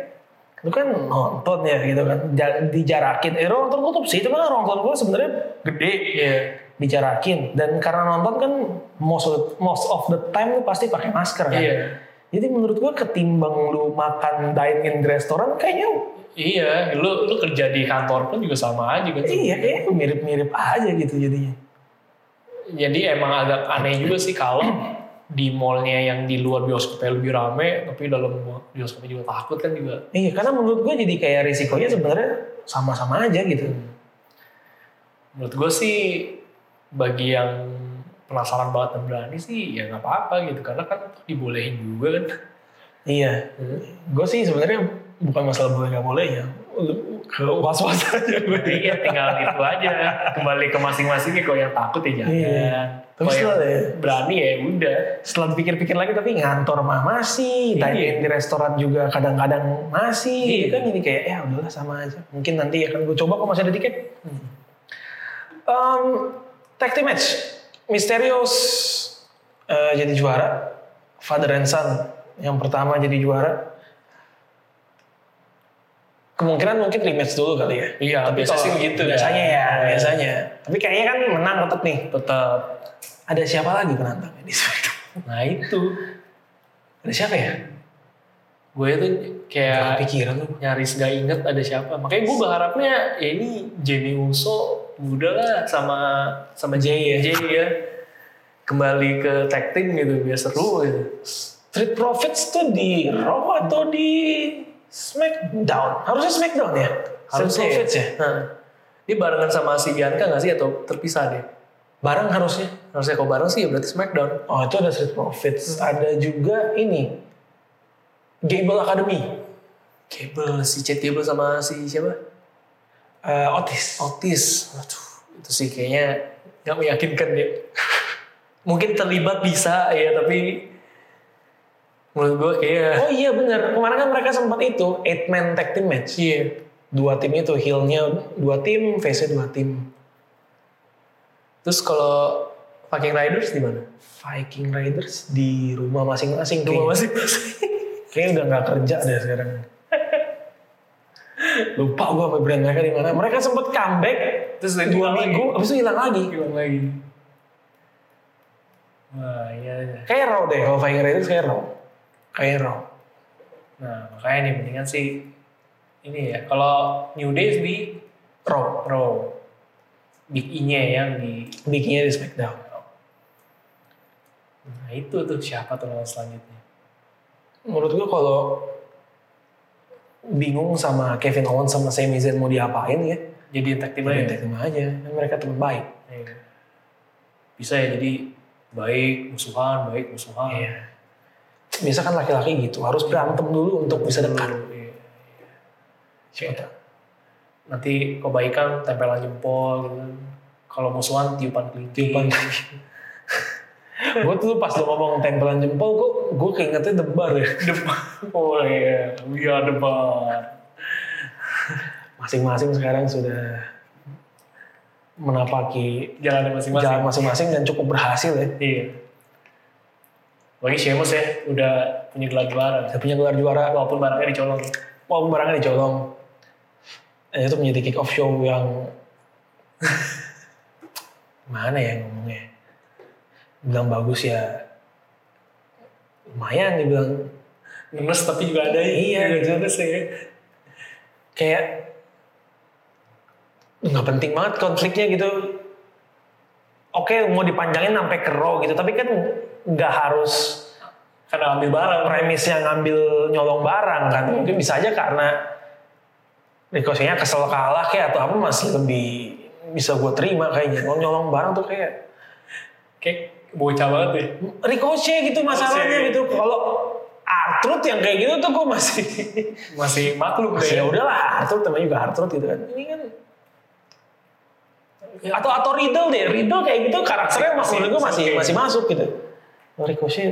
[SPEAKER 2] lu kan nonton ya gitu kan Ja- dijarakin eh nonton tutup sih cuma nonton gue sebenarnya gede
[SPEAKER 3] Iya,
[SPEAKER 2] dijarakin dan karena nonton kan most of, most of the time lu pasti pakai masker kan
[SPEAKER 3] iya,
[SPEAKER 2] jadi menurut gue ketimbang lu makan dine in di restoran kayaknya
[SPEAKER 3] iya. Lu lu kerja di kantor pun juga sama aja gitu.
[SPEAKER 2] Iya kayaknya mirip-mirip aja gitu jadinya.
[SPEAKER 3] Jadi emang agak aneh juga sih kalau di mallnya yang di luar bioskopnya lebih rame, tapi dalam bioskopnya juga takut kan juga.
[SPEAKER 2] Iya karena menurut gue jadi kayak risikonya sebenarnya sama-sama aja gitu.
[SPEAKER 3] menurut gue sih bagi yang penasaran banget dan berani sih ya nggak apa-apa gitu karena kan dibolehin juga kan
[SPEAKER 2] Iya. Gue sih sebenarnya bukan masalah boleh nggak boleh ya. Ke was-was aja gue.
[SPEAKER 3] Jadi ya tinggal itu aja kembali ke masing-masingnya kalau yang takut ya jangan
[SPEAKER 2] Iya. Tapi
[SPEAKER 3] Kalau
[SPEAKER 2] setelah, ya,
[SPEAKER 3] yang berani ya udah
[SPEAKER 2] setelah dipikir-pikir lagi tapi ngantor mah masih,
[SPEAKER 3] Iya.
[SPEAKER 2] dine in di restoran juga kadang-kadang masih.
[SPEAKER 3] Iya.
[SPEAKER 2] Gitu kan jadi kayak ya udahlah sama aja. Mungkin nanti akan gue coba kok masih ada tiket. Um, tag team match, Misterios eh, jadi juara, Father and Son yang pertama jadi juara. Kemungkinan mungkin rematch dulu kali ya.
[SPEAKER 3] iya biasa
[SPEAKER 2] Kalau-
[SPEAKER 3] sih gitu
[SPEAKER 2] Biasanya ya,
[SPEAKER 3] Iya.
[SPEAKER 2] biasanya. Tapi kayaknya kan menang tetap nih.
[SPEAKER 3] tetap
[SPEAKER 2] Ada siapa lagi penantangnya di SmackDown?
[SPEAKER 3] nah itu
[SPEAKER 2] Ada siapa ya?
[SPEAKER 3] gue itu
[SPEAKER 2] Gak
[SPEAKER 3] kayak
[SPEAKER 2] kepikiran tuh.
[SPEAKER 3] nyaris gak inget ada siapa makanya gue berharapnya ya ini Jenny Uso udah lah sama sama Jay ya Jay ya kembali ke tag team gitu biar seru gitu
[SPEAKER 2] Street Profits tuh di Raw atau di SmackDown? Harusnya SmackDown ya? Street
[SPEAKER 3] Harusnya ya.
[SPEAKER 2] Profits ya?
[SPEAKER 3] Nah, dia barengan sama si Bianca nggak sih atau terpisah deh?
[SPEAKER 2] Bareng harusnya.
[SPEAKER 3] Harusnya kalau bareng sih ya berarti Smackdown. Hmm.
[SPEAKER 2] Oh itu ada Street Profits. Ada juga ini. Gable Academy.
[SPEAKER 3] Cable, si Chad Cable sama si siapa?
[SPEAKER 2] Eh, Otis.
[SPEAKER 3] Otis. Waduh, itu sih kayaknya nggak meyakinkan dia. Mungkin terlibat bisa ya tapi menurut gua kayak
[SPEAKER 2] Oh iya bener. Kemarin kan mereka sempat itu. Eight man tag team match.
[SPEAKER 3] iya.
[SPEAKER 2] Dua tim itu. Heel-nya dua tim. Face-nya dua tim.
[SPEAKER 3] Terus kalau Viking Riders di mana?
[SPEAKER 2] Viking Raiders di rumah masing-masing. kayaknya.
[SPEAKER 3] Rumah masih
[SPEAKER 2] Kayaknya udah nggak kerja deh sekarang. Lupa gue apa brand mereka di mana. Mereka sempat comeback
[SPEAKER 3] Terus
[SPEAKER 2] dua minggu, abis itu hilang lagi.
[SPEAKER 3] hilang lagi. Wah iya. iya.
[SPEAKER 2] Kayak Raw deh, kalau Viking Raiders kayak Raw. Kayak Raw.
[SPEAKER 3] Nah, makanya nih mendingan sih ini ya. Kalau New Day di
[SPEAKER 2] Raw.
[SPEAKER 3] Pro Big E-nya yang di
[SPEAKER 2] Bikinnya di Smackdown.
[SPEAKER 3] Nah, itu tuh siapa tuh lawan selanjutnya.
[SPEAKER 2] Menurut gue kalau bingung sama Kevin Owens sama Sami Zayn mau diapain ya,
[SPEAKER 3] Jadi tag team
[SPEAKER 2] ya.
[SPEAKER 3] aja.
[SPEAKER 2] tag team aja. Mereka teman baik.
[SPEAKER 3] Iya. Bisa ya jadi baik musuhan, baik musuhan.
[SPEAKER 2] Iya. Biasa kan laki-laki gitu, harus berantem dulu untuk bisa dekat.
[SPEAKER 3] Iya.
[SPEAKER 2] Siapa tahu.
[SPEAKER 3] Nanti kebaikan tempelan jempol gitu. kan. Kalau musuhan tiupan kelinci.
[SPEAKER 2] Tiupan gue tuh pas lu ngomong tempelan jempol, gue gue keingetnya debar ya.
[SPEAKER 3] Depan. Oh iya, we are the bar.
[SPEAKER 2] masing-masing sekarang sudah menapaki
[SPEAKER 3] Jalannya masing-masing.
[SPEAKER 2] jalan masing-masing dan cukup berhasil ya.
[SPEAKER 3] Iya. Bagi Sheamus ya, udah punya gelar-gelaran.
[SPEAKER 2] Udah punya gelar juara,
[SPEAKER 3] Walaupun barangnya dicolong.
[SPEAKER 2] walaupun barangnya dicolong. Dan Eh, itu menjadi kick off show yang mana ya ngomongnya bilang bagus ya lumayan dibilang
[SPEAKER 3] Ngenes tapi juga ada
[SPEAKER 2] Iya.
[SPEAKER 3] Nggak jelas ya.
[SPEAKER 2] kayak nggak penting banget konfliknya gitu oke mau dipanjangin sampai ke Raw gitu tapi kan nggak harus
[SPEAKER 3] Karena ambil barang.
[SPEAKER 2] barang premis yang ngambil nyolong barang kan mungkin bisa aja karena Ricochetnya kesel kalah kayak atau apa masih lebih bisa gue terima kayaknya kalau nyolong barang tuh kayak
[SPEAKER 3] Kayak bocah banget deh.
[SPEAKER 2] Ricochet gitu masalahnya
[SPEAKER 3] Ricochet.
[SPEAKER 2] gitu kalau Artrud yang kayak gitu tuh gue masih
[SPEAKER 3] Masih maklum deh.
[SPEAKER 2] ya udahlah Artrud temen juga Artrud gitu kan ini kan atau atau Riddle deh Riddle kayak gitu karakternya masih
[SPEAKER 3] Masih-
[SPEAKER 2] menurut gue masih
[SPEAKER 3] masih oke.
[SPEAKER 2] masih masuk gitu Ricochet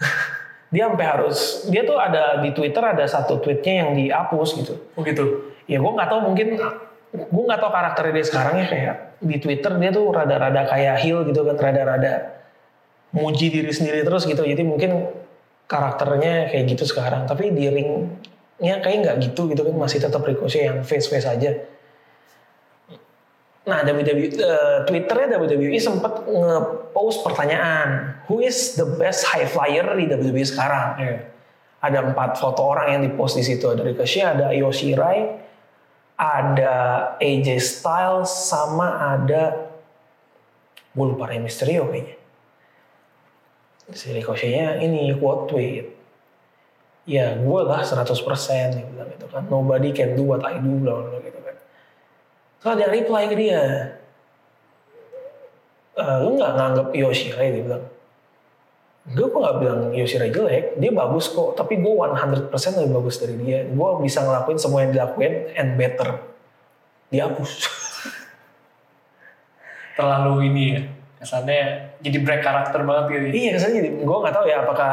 [SPEAKER 2] dia sampai harus dia tuh ada di Twitter ada satu tweetnya yang dihapus gitu
[SPEAKER 3] Oh gitu.
[SPEAKER 2] ya gue nggak tahu mungkin gue nggak tahu karakternya dia sekarang ya kayak di Twitter dia tuh rada-rada kayak heel gitu kan rada-rada muji diri sendiri terus gitu jadi mungkin karakternya kayak gitu sekarang tapi di ringnya kayak nggak gitu gitu kan masih tetap Ricochet yang face face aja nah WWE eh, Twitternya WWE sempat nge-post pertanyaan who is the best high flyer di WWE sekarang
[SPEAKER 3] Iya.
[SPEAKER 2] ada empat foto orang yang dipost di situ ada Ricochet, ada Io Shirai, ada AJ Styles, sama ada gue lupa Rey Mysterio kayaknya. Si Ricochetnya ini quote tweet. Ya gue lah 100% dia bilang gitu kan. Nobody can do what I do bla bla bla gitu kan. Terus ada yang reply ke dia. "Eh, lu nggak nganggap Io Shirai dia bilang gue kok gak bilang Yoshira jelek, dia bagus kok, tapi gue 100% lebih bagus dari dia. Gue bisa ngelakuin semua yang dilakuin and better. Dihapus.
[SPEAKER 3] Terlalu ini ya. Kesannya jadi break karakter banget gitu.
[SPEAKER 2] iya kesannya jadi, gue gak tahu ya apakah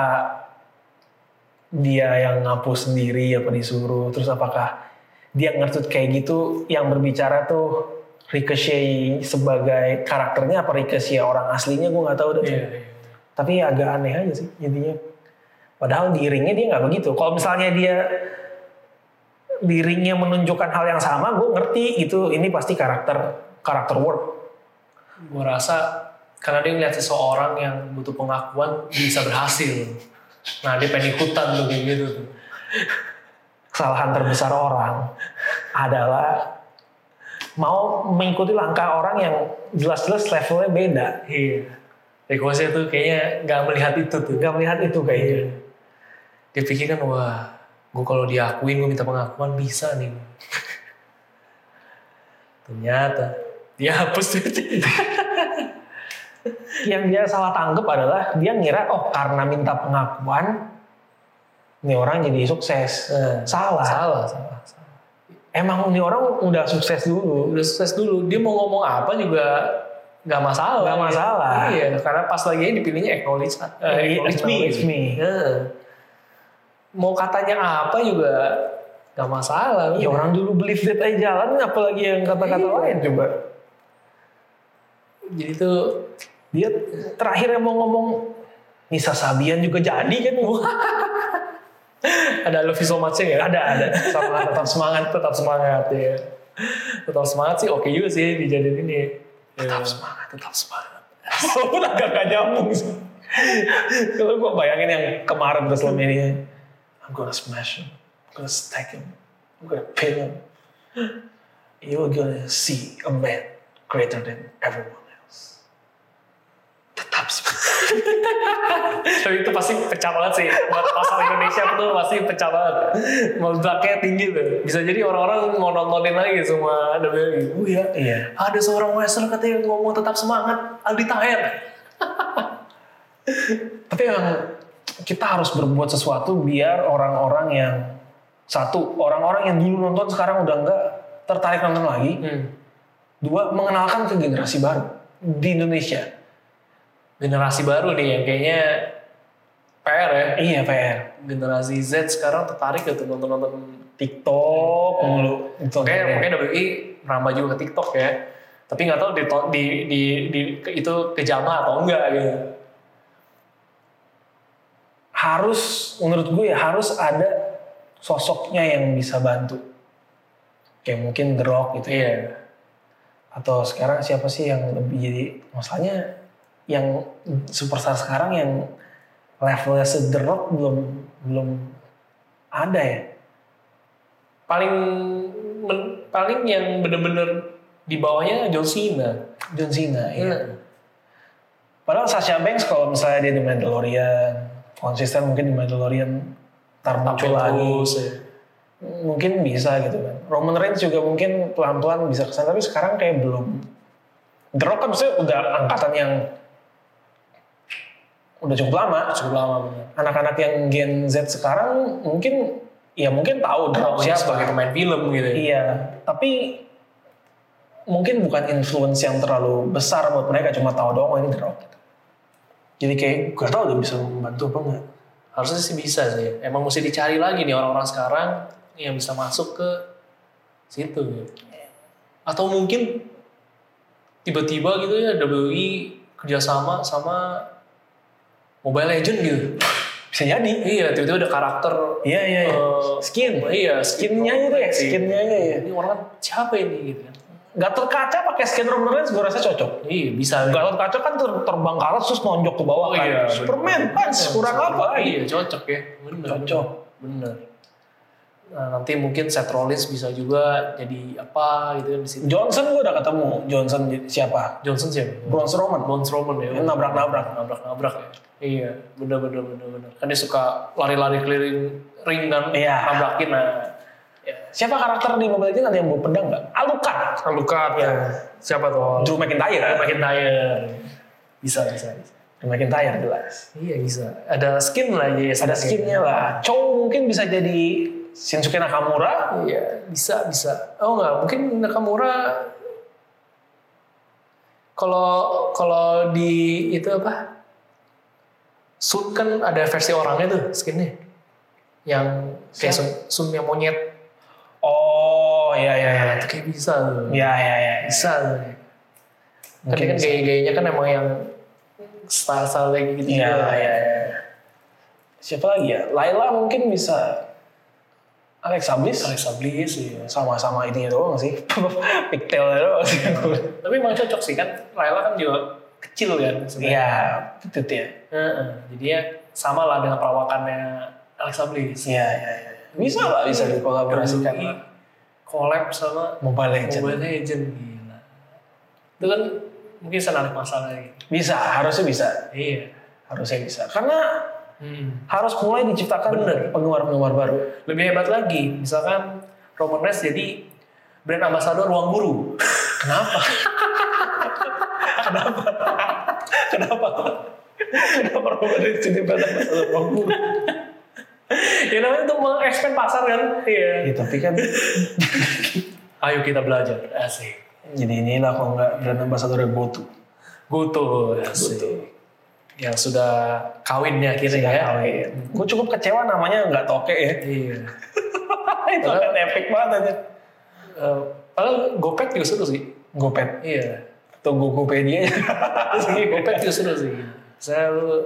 [SPEAKER 2] dia yang ngapus sendiri apa disuruh, terus apakah dia ngertut kayak gitu yang berbicara tuh Ricochet sebagai karakternya apa Ricochet orang aslinya gue gak tahu deh.
[SPEAKER 3] Iya.
[SPEAKER 2] tapi ya agak aneh aja sih jadinya padahal di ringnya dia nggak begitu kalau misalnya dia di ringnya menunjukkan hal yang sama gue ngerti itu ini pasti karakter karakter work
[SPEAKER 3] Gue rasa karena dia ngeliat seseorang yang butuh pengakuan bisa berhasil. Nah dia pengen ikutan tuh kayak gitu tuh.
[SPEAKER 2] kesalahan terbesar orang adalah mau mengikuti langkah orang yang jelas-jelas levelnya beda
[SPEAKER 3] Iya. Ricochet tuh kayaknya nggak melihat itu tuh.
[SPEAKER 2] nggak melihat itu
[SPEAKER 3] Iya.
[SPEAKER 2] kayaknya
[SPEAKER 3] Dia pikir kan wah gue kalau diakuin gue minta pengakuan bisa nih. Ternyata dia hapus tweet.
[SPEAKER 2] yang dia salah tanggap adalah dia ngira oh karena minta pengakuan ini orang jadi sukses Nah,
[SPEAKER 3] Eh,
[SPEAKER 2] salah
[SPEAKER 3] salah, salah, salah.
[SPEAKER 2] emang ini orang udah sukses dulu
[SPEAKER 3] Udah sukses dulu. Dia mau ngomong apa juga nggak masalah.
[SPEAKER 2] Nggak masalah.
[SPEAKER 3] Iya, karena pas lagi dipilihnya acknowledge. eh,
[SPEAKER 2] it's me it's me
[SPEAKER 3] Eh. Mau katanya apa juga nggak masalah.
[SPEAKER 2] ya orang dulu believe that aja jalan apalagi yang kata-kata
[SPEAKER 3] Iya.
[SPEAKER 2] lain coba
[SPEAKER 3] Jadi tuh
[SPEAKER 2] dia terakhir yang mau ngomong Nisa Sabian juga jadi kan Wah,
[SPEAKER 3] ada love you so much ya.
[SPEAKER 2] ada ada
[SPEAKER 3] sama tetap semangat tetap semangat
[SPEAKER 2] iya.
[SPEAKER 3] ya tetap semangat sih oke juga sih dijadiin ini
[SPEAKER 2] tetap
[SPEAKER 3] Ya.
[SPEAKER 2] semangat tetap semangat walaupun Iya. agak gak nyambung sih kalau gue bayangin yang kemarin terus selama ini I'm gonna smash him I'm gonna stack him I'm gonna pin him you're gonna see a man greater than everyone else tetap semangat
[SPEAKER 3] tapi itu pasti pecah banget sih buat pasar Indonesia itu pasti pecah banget meledaknya tinggi tuh bisa jadi orang-orang mau nontonin lagi semua WWE oh iya
[SPEAKER 2] iya
[SPEAKER 3] ada seorang wrestler katanya ngomong tetap semangat Aldi Taher
[SPEAKER 2] tapi emang kita harus berbuat sesuatu biar orang-orang yang satu orang-orang yang dulu nonton sekarang udah nggak tertarik nonton lagi
[SPEAKER 3] hmm.
[SPEAKER 2] dua mengenalkan ke generasi baru di Indonesia
[SPEAKER 3] generasi baru nih yang kayaknya PR ya
[SPEAKER 2] iya PR
[SPEAKER 3] generasi Z sekarang tertarik gitu nonton-nonton
[SPEAKER 2] TikTok mulu itu
[SPEAKER 3] Iya. Oke, mungkin WWE merambah juga ke TikTok ya. Tapi nggak tahu di, di, di, di- ke- itu kejama atau enggak gitu.
[SPEAKER 2] harus menurut gue ya harus ada sosoknya yang bisa bantu kayak mungkin The Rock gitu ya.
[SPEAKER 3] Iya.
[SPEAKER 2] Atau sekarang siapa sih yang lebih jadi masalahnya yang superstar sekarang yang levelnya se The Rock belum belum ada ya.
[SPEAKER 3] Paling men- paling yang bener-bener di bawahnya John Cena.
[SPEAKER 2] John Cena ya.
[SPEAKER 3] Iya.
[SPEAKER 2] Padahal Sasha Banks kalau misalnya dia di Mandalorian konsisten mungkin di Mandalorian ntar muncul lagi
[SPEAKER 3] terus. ya.
[SPEAKER 2] mungkin bisa gitu kan. Roman Reigns juga mungkin pelan-pelan bisa kesana tapi sekarang kayak belum. The Rock kan maksudnya udah angkatan yang udah cukup lama.
[SPEAKER 3] Cukup lama bener.
[SPEAKER 2] Anak-anak yang Gen Z sekarang mungkin ya mungkin tahu The Rock
[SPEAKER 3] Siapa?
[SPEAKER 2] siapa.
[SPEAKER 3] Sebagai pemain film gitu. ya.
[SPEAKER 2] Iya, tapi mungkin bukan influence yang terlalu besar buat mereka cuma tahu doang oh, ini The Rock. Jadi kayak gak tau udah bisa membantu apa enggak.
[SPEAKER 3] Harusnya sih bisa sih. Emang mesti dicari lagi nih orang-orang sekarang yang bisa masuk ke situ. ya. Atau mungkin tiba-tiba gitu ya WWE kerjasama sama Mobile Legend gitu.
[SPEAKER 2] Bisa jadi.
[SPEAKER 3] Iya, tiba-tiba ada karakter
[SPEAKER 2] Iya iya. iya.
[SPEAKER 3] eh,
[SPEAKER 2] Skin.
[SPEAKER 3] Iya,
[SPEAKER 2] Skinnya itu ya, skinnya aja ya.
[SPEAKER 3] Ini orang kan siapa ini gitu kan?
[SPEAKER 2] Gatot kaca pakai skin Roman Reigns gue rasa cocok.
[SPEAKER 3] Iya, bisa.
[SPEAKER 2] Gatot kaca kan ter- terbang ke atas terus nonjok ke bawah kan. Superman punch kurang apa?
[SPEAKER 3] Iya, cocok ya. Bener.
[SPEAKER 2] Cocok.
[SPEAKER 3] Bener. Nah, nanti mungkin Seth Rollins bisa juga jadi apa gitu kan di situ.
[SPEAKER 2] Johnson gue udah ketemu. Johnson j- siapa?
[SPEAKER 3] Johnson siapa?
[SPEAKER 2] Braun Strowman.
[SPEAKER 3] Braun Strowman ya.
[SPEAKER 2] Yang nabrak-nabrak.
[SPEAKER 3] Nabrak-nabrak ya. Iya, bener bener bener bener. Kan dia suka lari-lari keliling ring kan,
[SPEAKER 2] Iya.
[SPEAKER 3] nabrakin nah.
[SPEAKER 2] Siapa karakter di Mobile Legends ada yang bawa pedang nggak? Ah, Alucard.
[SPEAKER 3] Alucard
[SPEAKER 2] Iya.
[SPEAKER 3] Kan Siapa tuh?
[SPEAKER 2] Drew McIntyre.
[SPEAKER 3] Drew McIntyre. Bisa, bisa, bisa.
[SPEAKER 2] Drew McIntyre jelas.
[SPEAKER 3] Iya bisa. Ada skin lah ya.
[SPEAKER 2] Ada skinnya lah. Chow mungkin bisa jadi Shinsuke Nakamura.
[SPEAKER 3] Iya bisa bisa. Oh enggak mungkin Nakamura kalau kalau di itu apa? Sun kan ada versi orangnya tuh skinnya yang kayak Sun, Sun yang monyet.
[SPEAKER 2] Oh iya iya iya.
[SPEAKER 3] Nah, itu kayak bisa tuh.
[SPEAKER 2] Iya iya iya.
[SPEAKER 3] Bisa tuh. Kan
[SPEAKER 2] Mungkin
[SPEAKER 3] dia kan
[SPEAKER 2] bisa.
[SPEAKER 3] gaya-gayanya kan emang yang style-style kayak gitu.
[SPEAKER 2] Iya
[SPEAKER 3] juga.
[SPEAKER 2] iya iya. Siapa lagi ya? Laila mungkin bisa. Alexa Bliss.
[SPEAKER 3] Alexa Bliss iya.
[SPEAKER 2] sama-sama ini doang sih pigtail doang sih
[SPEAKER 3] Tapi emang cocok sih kan Laila kan juga kecil kan sebenarnya.
[SPEAKER 2] iya betul ya
[SPEAKER 3] Heeh, jadinya sama lah dengan perawakannya Alexa Bliss.
[SPEAKER 2] iya iya iya. bisa lah bisa dikolaborasikan
[SPEAKER 3] Iya. Collab sama
[SPEAKER 2] Mobile
[SPEAKER 3] Mobile
[SPEAKER 2] Legends
[SPEAKER 3] Legend gila. Itu kan mungkin senarik masalah gitu.
[SPEAKER 2] bisa harusnya bisa
[SPEAKER 3] Iya.
[SPEAKER 2] harusnya bisa karena
[SPEAKER 3] Hmm.
[SPEAKER 2] harus mulai diciptakan
[SPEAKER 3] Bener.
[SPEAKER 2] penggemar-penggemar baru
[SPEAKER 3] Lebih hebat lagi, misalkan Roman Reigns jadi brand ambassador ruang guru.
[SPEAKER 2] kenapa kenapa kenapa kenapa Roman Reigns jadi badan masalah ruang guru
[SPEAKER 3] ya namanya untuk mengekspand pasar kan. Iya.
[SPEAKER 2] ya, tapi kan
[SPEAKER 3] Ayo kita belajar. Asik.
[SPEAKER 2] jadi inilah kalau nggak brand ambassador GoTo
[SPEAKER 3] Goto. Asik. Yang sudah kawinnya akhirnya ya.
[SPEAKER 2] gue Nah, iya. cukup kecewa namanya nggak toke ya
[SPEAKER 3] Iya.
[SPEAKER 2] itu akan epic banget aja.
[SPEAKER 3] Eh, padahal Gopet juga seru sih.
[SPEAKER 2] Gopet.
[SPEAKER 3] Iya.
[SPEAKER 2] Tunggu Gopedia.
[SPEAKER 3] Iya, Gopet juga seru sih. Saya lu,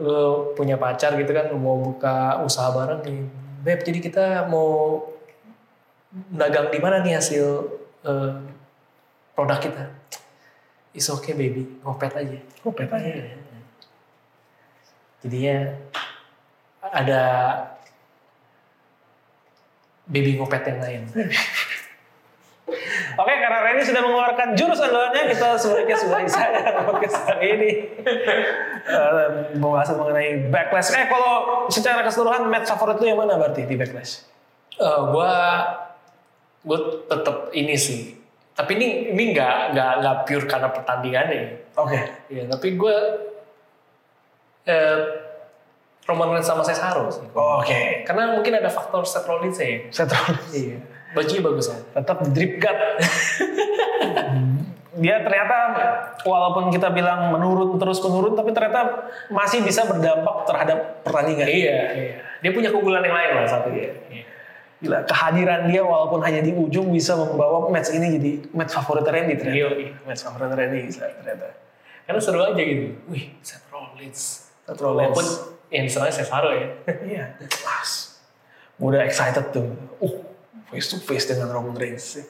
[SPEAKER 3] lu punya pacar gitu kan mau buka usaha bareng nih. Beb, jadi kita mau dagang di mana nih hasil eh, produk kita? It's okay baby, Gopet aja. Iya.
[SPEAKER 2] Gopet aja.
[SPEAKER 3] Jadinya ada baby ngopet yang lain.
[SPEAKER 2] Oke, karena Reni sudah mengeluarkan jurus andalannya, kita sebaiknya sudahi saja podcast kali ini. Eh, Membahas mengenai backlash. Eh, kalau secara keseluruhan match favorit lu yang mana berarti di backlash?
[SPEAKER 3] Eh, gua gue tetap ini sih tapi ini ini nggak nggak nggak pure karena pertandingannya
[SPEAKER 2] Oke.
[SPEAKER 3] ya tapi gue eh, Roman Reigns sama Cesaro sih
[SPEAKER 2] Oke.
[SPEAKER 3] karena mungkin ada faktor Seth Rollins ya
[SPEAKER 2] Saya terus.
[SPEAKER 3] iya bajunya bagus kan
[SPEAKER 2] Tetap drip gut. Dia ternyata walaupun kita bilang menurun terus menurun, tapi ternyata masih bisa berdampak terhadap pertandingan.
[SPEAKER 3] iya iya dia punya keunggulan yang lain lah satu dia iya.
[SPEAKER 2] Gila, kehadiran dia walaupun hanya di ujung bisa membawa match ini jadi match favorit Randy ternyata.
[SPEAKER 3] Iya, iya.
[SPEAKER 2] Match favorit Randy ternyata.
[SPEAKER 3] karena seru aja gitu wih Seth Rollins
[SPEAKER 2] Seth Rollins.
[SPEAKER 3] walaupun yang misalnya Cesaro ya
[SPEAKER 2] Iya. Mas. Gua Udah excited tuh. Uh, face to face dengan Roman Reigns.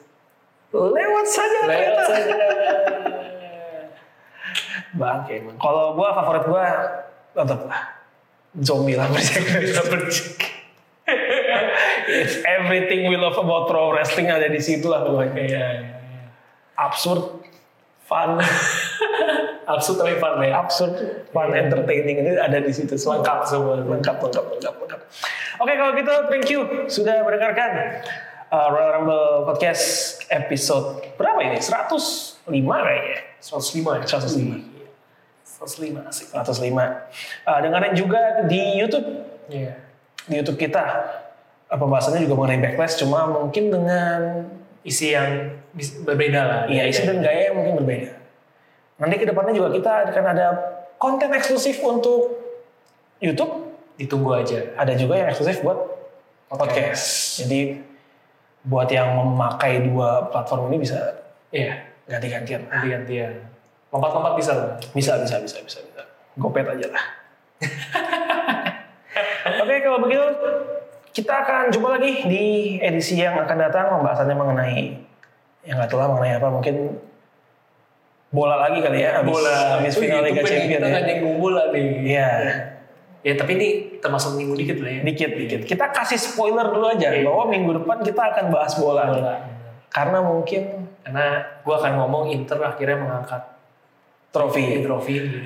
[SPEAKER 2] Lewat saja
[SPEAKER 3] Lewat
[SPEAKER 2] ternyata.
[SPEAKER 3] saja. Iya.
[SPEAKER 2] Bangke emang. Kalau gua favorit gua tetap lah zombie lah berjaga bisa berjaga. It's everything we love about pro wrestling ada di situ lah pokoknya. ya.
[SPEAKER 3] Iya, iya.
[SPEAKER 2] Absurd, fun,
[SPEAKER 3] Absurd tapi fun ya.
[SPEAKER 2] absurd, fun, entertaining itu ada di situ semua.
[SPEAKER 3] Lengkap semua.
[SPEAKER 2] lengkap, lengkap, lengkap, lengkap. Oke kalau gitu, thank you sudah mendengarkan uh, Royal Rumble Podcast episode berapa ini? 105 kayaknya.
[SPEAKER 3] 105 ya.
[SPEAKER 2] 105.
[SPEAKER 3] 105 asik.
[SPEAKER 2] 105. Uh, dengerin juga di YouTube
[SPEAKER 3] Iya.
[SPEAKER 2] di YouTube kita. Uh, Pembahasannya juga mengenai backlash, cuma mungkin dengan
[SPEAKER 3] Isi yang bis- berbeda lah.
[SPEAKER 2] ya isi dan gaya yang mungkin berbeda. Nanti kedepannya juga kita akan ada konten eksklusif untuk YouTube,
[SPEAKER 3] Ditunggu aja.
[SPEAKER 2] ada juga yang eksklusif buat podcast. Jadi buat yang memakai dua platform ini bisa
[SPEAKER 3] Iya.
[SPEAKER 2] ganti-gantian.
[SPEAKER 3] Ganti-gantian. Lompat-lompat bisa lah.
[SPEAKER 2] Bisa, bisa, bisa, bisa, bisa. Gopet aja lah. Oke, kalau begitu kita akan jumpa lagi di edisi yang akan datang pembahasannya mengenai yang nggak tahu lah mengenai apa mungkin bola lagi kali ya abis,
[SPEAKER 3] bola
[SPEAKER 2] abis
[SPEAKER 3] Itu
[SPEAKER 2] final Liga
[SPEAKER 3] YouTube nih,
[SPEAKER 2] Champion
[SPEAKER 3] kita
[SPEAKER 2] ya.
[SPEAKER 3] kan yang bola nih
[SPEAKER 2] Iya,
[SPEAKER 3] ya tapi ini termasuk minggu dikit lah ya
[SPEAKER 2] dikit dikit. Kita kasih spoiler dulu aja
[SPEAKER 3] Iya.
[SPEAKER 2] bahwa minggu depan kita akan bahas bola,
[SPEAKER 3] bola
[SPEAKER 2] karena mungkin
[SPEAKER 3] karena gue akan ngomong Inter akhirnya mengangkat
[SPEAKER 2] trofi.
[SPEAKER 3] trofi di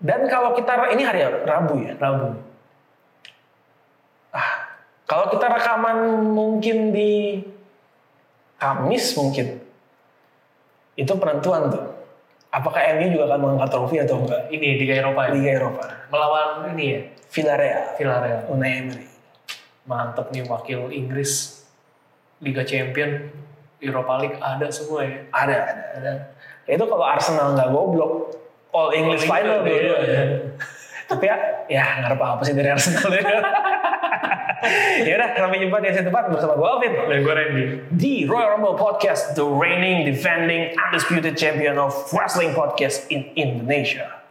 [SPEAKER 2] Dan kalau kita ini hari Rabu ya.
[SPEAKER 3] Rabu
[SPEAKER 2] Kalau kita rekaman mungkin di Kamis mungkin. Itu penentuan tuh. Apakah MU juga akan mengangkat trofi atau enggak
[SPEAKER 3] ini di Eropa ya
[SPEAKER 2] Liga Eropa?
[SPEAKER 3] melawan ini ya
[SPEAKER 2] Villarreal,
[SPEAKER 3] Villarreal
[SPEAKER 2] Unai Emery.
[SPEAKER 3] mantep nih wakil Inggris Liga Champion Europa League ada semua ya
[SPEAKER 2] Ada, ada, ada. Ya Itu kalau Arsenal nggak goblok, All English Final
[SPEAKER 3] Liga,
[SPEAKER 2] dulu.
[SPEAKER 3] iya.
[SPEAKER 2] Tapi ya, ya ngarep apa sih dari Arsenal ya. ya udah, sampai jumpa di episode depan bersama gue Alvin.
[SPEAKER 3] dan gue Randy
[SPEAKER 2] the Royal Rumble podcast, the reigning, defending, undisputed champion of wrestling podcast in Indonesia,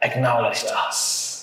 [SPEAKER 2] acknowledged us.